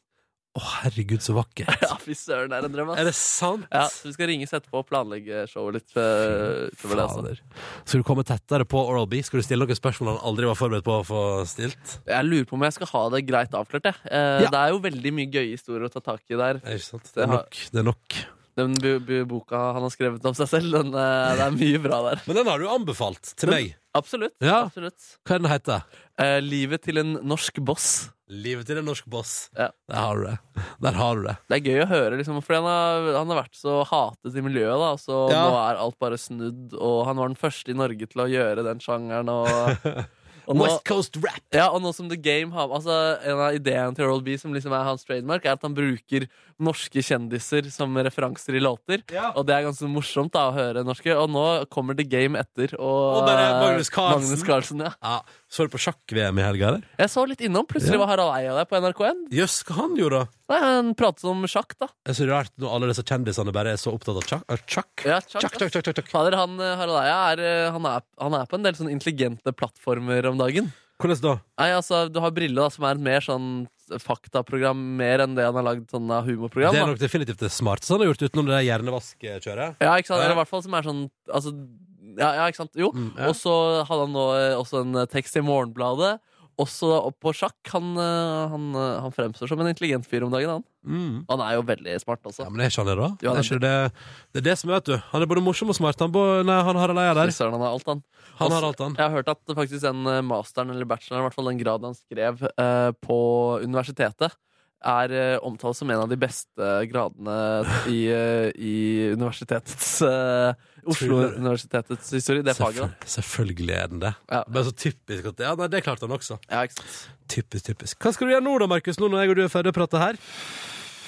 Å, herregud, så vakkert. Ja, fy søren, det er en drøm, ass. Er det sant? Ja, så vi skal ringes etterpå og planlegge showet litt. eh, utover det, altså. Fader. Skal du komme tettere på Oral B? Skal du stille noen spørsmål han aldri var forberedt på å få stilt? Jeg lurer på om jeg skal ha det greit avklart. Jeg. Eh, Ja. Det er jo veldig mye gøye historier å ta tak i der. Det er, ikke sant? Det Det er har- nok. Det er nok. Den bu bu boka han har skrevet om seg selv, den, eh, det er mye bra der. Men den har du anbefalt til Men- meg. Absolutt. Ja. absolutt. Hva er den heter? Eh, livet til en norsk boss. Livet til en norsk boss. Ja. Der har du det. Der har du det. Det er gøy å høre, liksom, for han har, han har vært så hatet i miljøet, da, så Ja. nå er alt bare snudd. Og han var den første i Norge til å gjøre den sjangeren. Og, og nå, West Coast Rap! Ja, og nå som The Game har altså, En av ideene til Oral B som liksom er hans trademark, er at han bruker norske kjendiser som referanser i låter. Og det er ganske morsomt da å høre norske. Og nå kommer The Game etter. Og, Og bare Magnus eh, Carlsen. Magnus Carlsen, ja. Ja. Så du på sjakk-VM i helga, eller? Jeg så litt innom. Plutselig Ja. var Harald Eia der på NRK1. Jøss, hva han gjorde, da? Nei, Han pratet om sjakk, da. Det er så rart når alle disse kjendisene bare er så opptatt av sjakk. Sjakk, Ja, sjakk, sjakk, ass. sjakk, sjakk, sjakk. Fader, han, eh, Harald Eia er, eh, han er, han er på en del sånne intelligente plattformer om dagen. Hvordan da? Nei, altså, Du har Brille, da, som er et mer sånn faktaprogram mer enn det han har lagd sånn av humorprogram. Det da. er nok definitivt det smarteste han har gjort, utenom det der hjernevaskekjøret. Ja, ikke sant? Ja. Mm, Eller i hvert fall som er sånn altså, ja, ja, ikke sant? Jo. ja. Og så hadde han nå eh, også en eh, tekst i Morgenbladet. Også opp på sjakk. Han, eh, han, eh, han fremstår som en intelligent fyr om dagen. Han, Mm. han er jo veldig smart altså. også. Ja, men det er ikke han det, da. Jo, han det, er ikke det, det er det som er, vet du. Han er både morsom og smart. Han, bo, nei, han har alle eier Fy der. Søren, han har alt, han. Han har Også- alt, han. Jeg har hørt at faktisk den eh, masteren eller bacheloren, i hvert fall den graden han skrev eh, på universitetet, er eh, omtalt som en av de beste gradene i, eh, i universitetets eh, Oslo Tuller du? universitetets historie. Det faget, da. Selvføl- selvfølgelig er den det. Ja. Men så typisk at Ja, nei, det klarte han også. Ja, ikke sant? Typisk, typisk. Hva skal du gjøre nå, da, Markus? Nå når jeg og du er ferdig å prate her?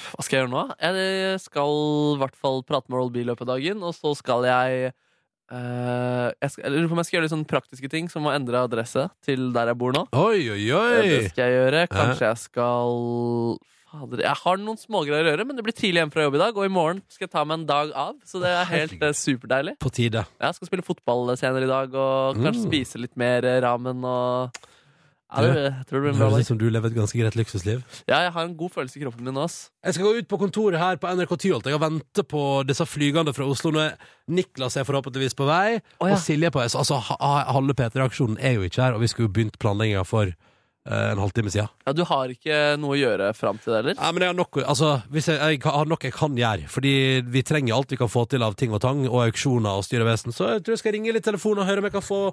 Hva skal jeg gjøre nå? Jeg skal i hvert fall prate med Oral B i løpet av dagen, og så skal jeg Eh, jeg, skal, jeg lurer på om jeg skal gjøre litt sånne praktiske ting, som å endre adresse til der jeg bor nå. Oi, oi, oi. Eh, Det skal jeg gjøre. Kanskje jeg skal Fader, jeg har noen smågreier å gjøre, men det blir tidlig hjemme fra jobb i dag, og i morgen skal jeg ta meg en dag av. Så det er helt eh, superdeilig. På tide. Jeg skal spille fotball senere i dag, og Mm. kanskje spise litt mer eh, ramen og ja, det, jeg tror det blir en bra Høres ut dag. som du lever et ganske greit luksusliv. Ja, jeg har en god følelse i kroppen min nå, ass. Jeg skal gå ut på kontoret her på NRK Tyholt. Jeg har ventet på disse flygende fra Oslo. Nå er Niklas er forhåpentligvis på vei, ja. og Silje er på vei. Så altså, ha- ha- halve P3-aksjonen er jo ikke her, og vi skulle jo begynt planlegginga for eh, en halvtime siden. Ja, du har ikke noe å gjøre fram til det, eller? Nei, men jeg har nok, altså, hvis jeg, jeg har nok jeg kan gjøre, fordi vi trenger alt vi kan få til av ting og tang, og auksjoner og styrevesen, så jeg tror jeg skal ringe litt telefon og høre om jeg kan få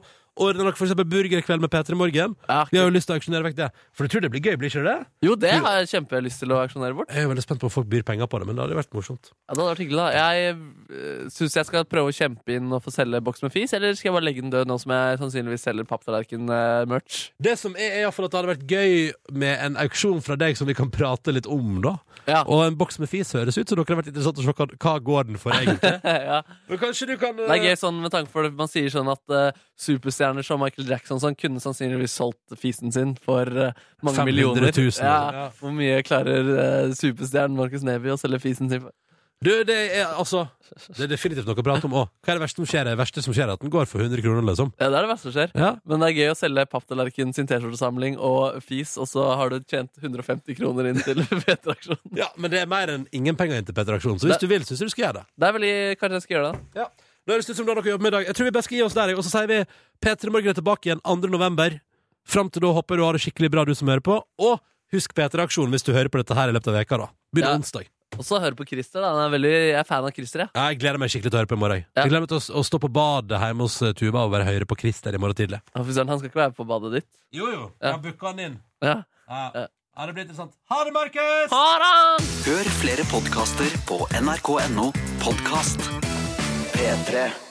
ordne nok for eksempel burgerkveld med Peter i morgen. Vi har jo lyst til å auksjonere vekk det. For jeg tror det blir gøy, blir ikke det? Jo, det har jeg kjempelyst til å auksjonere bort. Jeg er jo veldig spent på om folk byr penger på det, men det hadde jo vært morsomt. Ja, det hadde vært hyggelig, da. Jeg syns jeg skal prøve å kjempe inn og få selge boks med fis, eller skal jeg bare legge den død nå som jeg sannsynligvis selger eh, papptallerken-merch? Det som er, er i hvert fall at det hadde vært gøy med en auksjon fra deg som vi kan prate litt om, da. Og en boks med fis høres ut, så dere har vært interessant å se hva, hva går den for, egentlig. ja. Men kanskje du kan Det er gøy sånn med tanke for det man sier sånn at eh, superstjerner som Michael Jackson sånn, kunne sannsynligvis solgt fisen sin for eh, mange 500 millioner. 000. Ja. Hvor mye klarer eh, superstjernen Marcus Neby å selge fisen sin for? Du, det er altså Det er definitivt noe å prate om òg. Hva er det verste som skjer? Det verste som skjer, er at den går for 100 kroner, liksom. Ja, det er det verste som skjer. Ja. Men det er gøy å selge papptallerken sin T-skjortesamling og fis, og så har du tjent 150 kroner inn til P3-aksjonen. Ja, men det er mer enn ingen penger inn til Petter Aksjon, så hvis Det- du vil, syns jeg du skal gjøre det. Det er veldig, Kanskje jeg skal gjøre det. Ja. Det høres ut som det er noe å jobbe med i dag. Jeg tror vi bare skal gi oss der, jeg. og så sier vi P3 Morgen er tilbake igjen 2. november. Fram til da håper jeg du har det skikkelig bra, du som hører på. Og husk P3 Aksjon hvis du hører på dette her i løpet av veka, da. Begynner onsdag. Og så høre på Christer. da. Han er veldig, jeg er fan av Christer. jeg. Jeg gleder meg skikkelig til å høre på i morgen. jeg. Jeg gleder meg til å, s- å stå på badet hjemme hos eh, Tuva og være høyere på Christer i morgen tidlig. Ja. fy søren, Han skal ikke være på badet ditt. Jo, jo. Ja. Jeg har booka han inn. Ja. Ja. det blir interessant. Ha det, Markus! Ha det! Hør flere podkaster på nrk.no podkast. P3.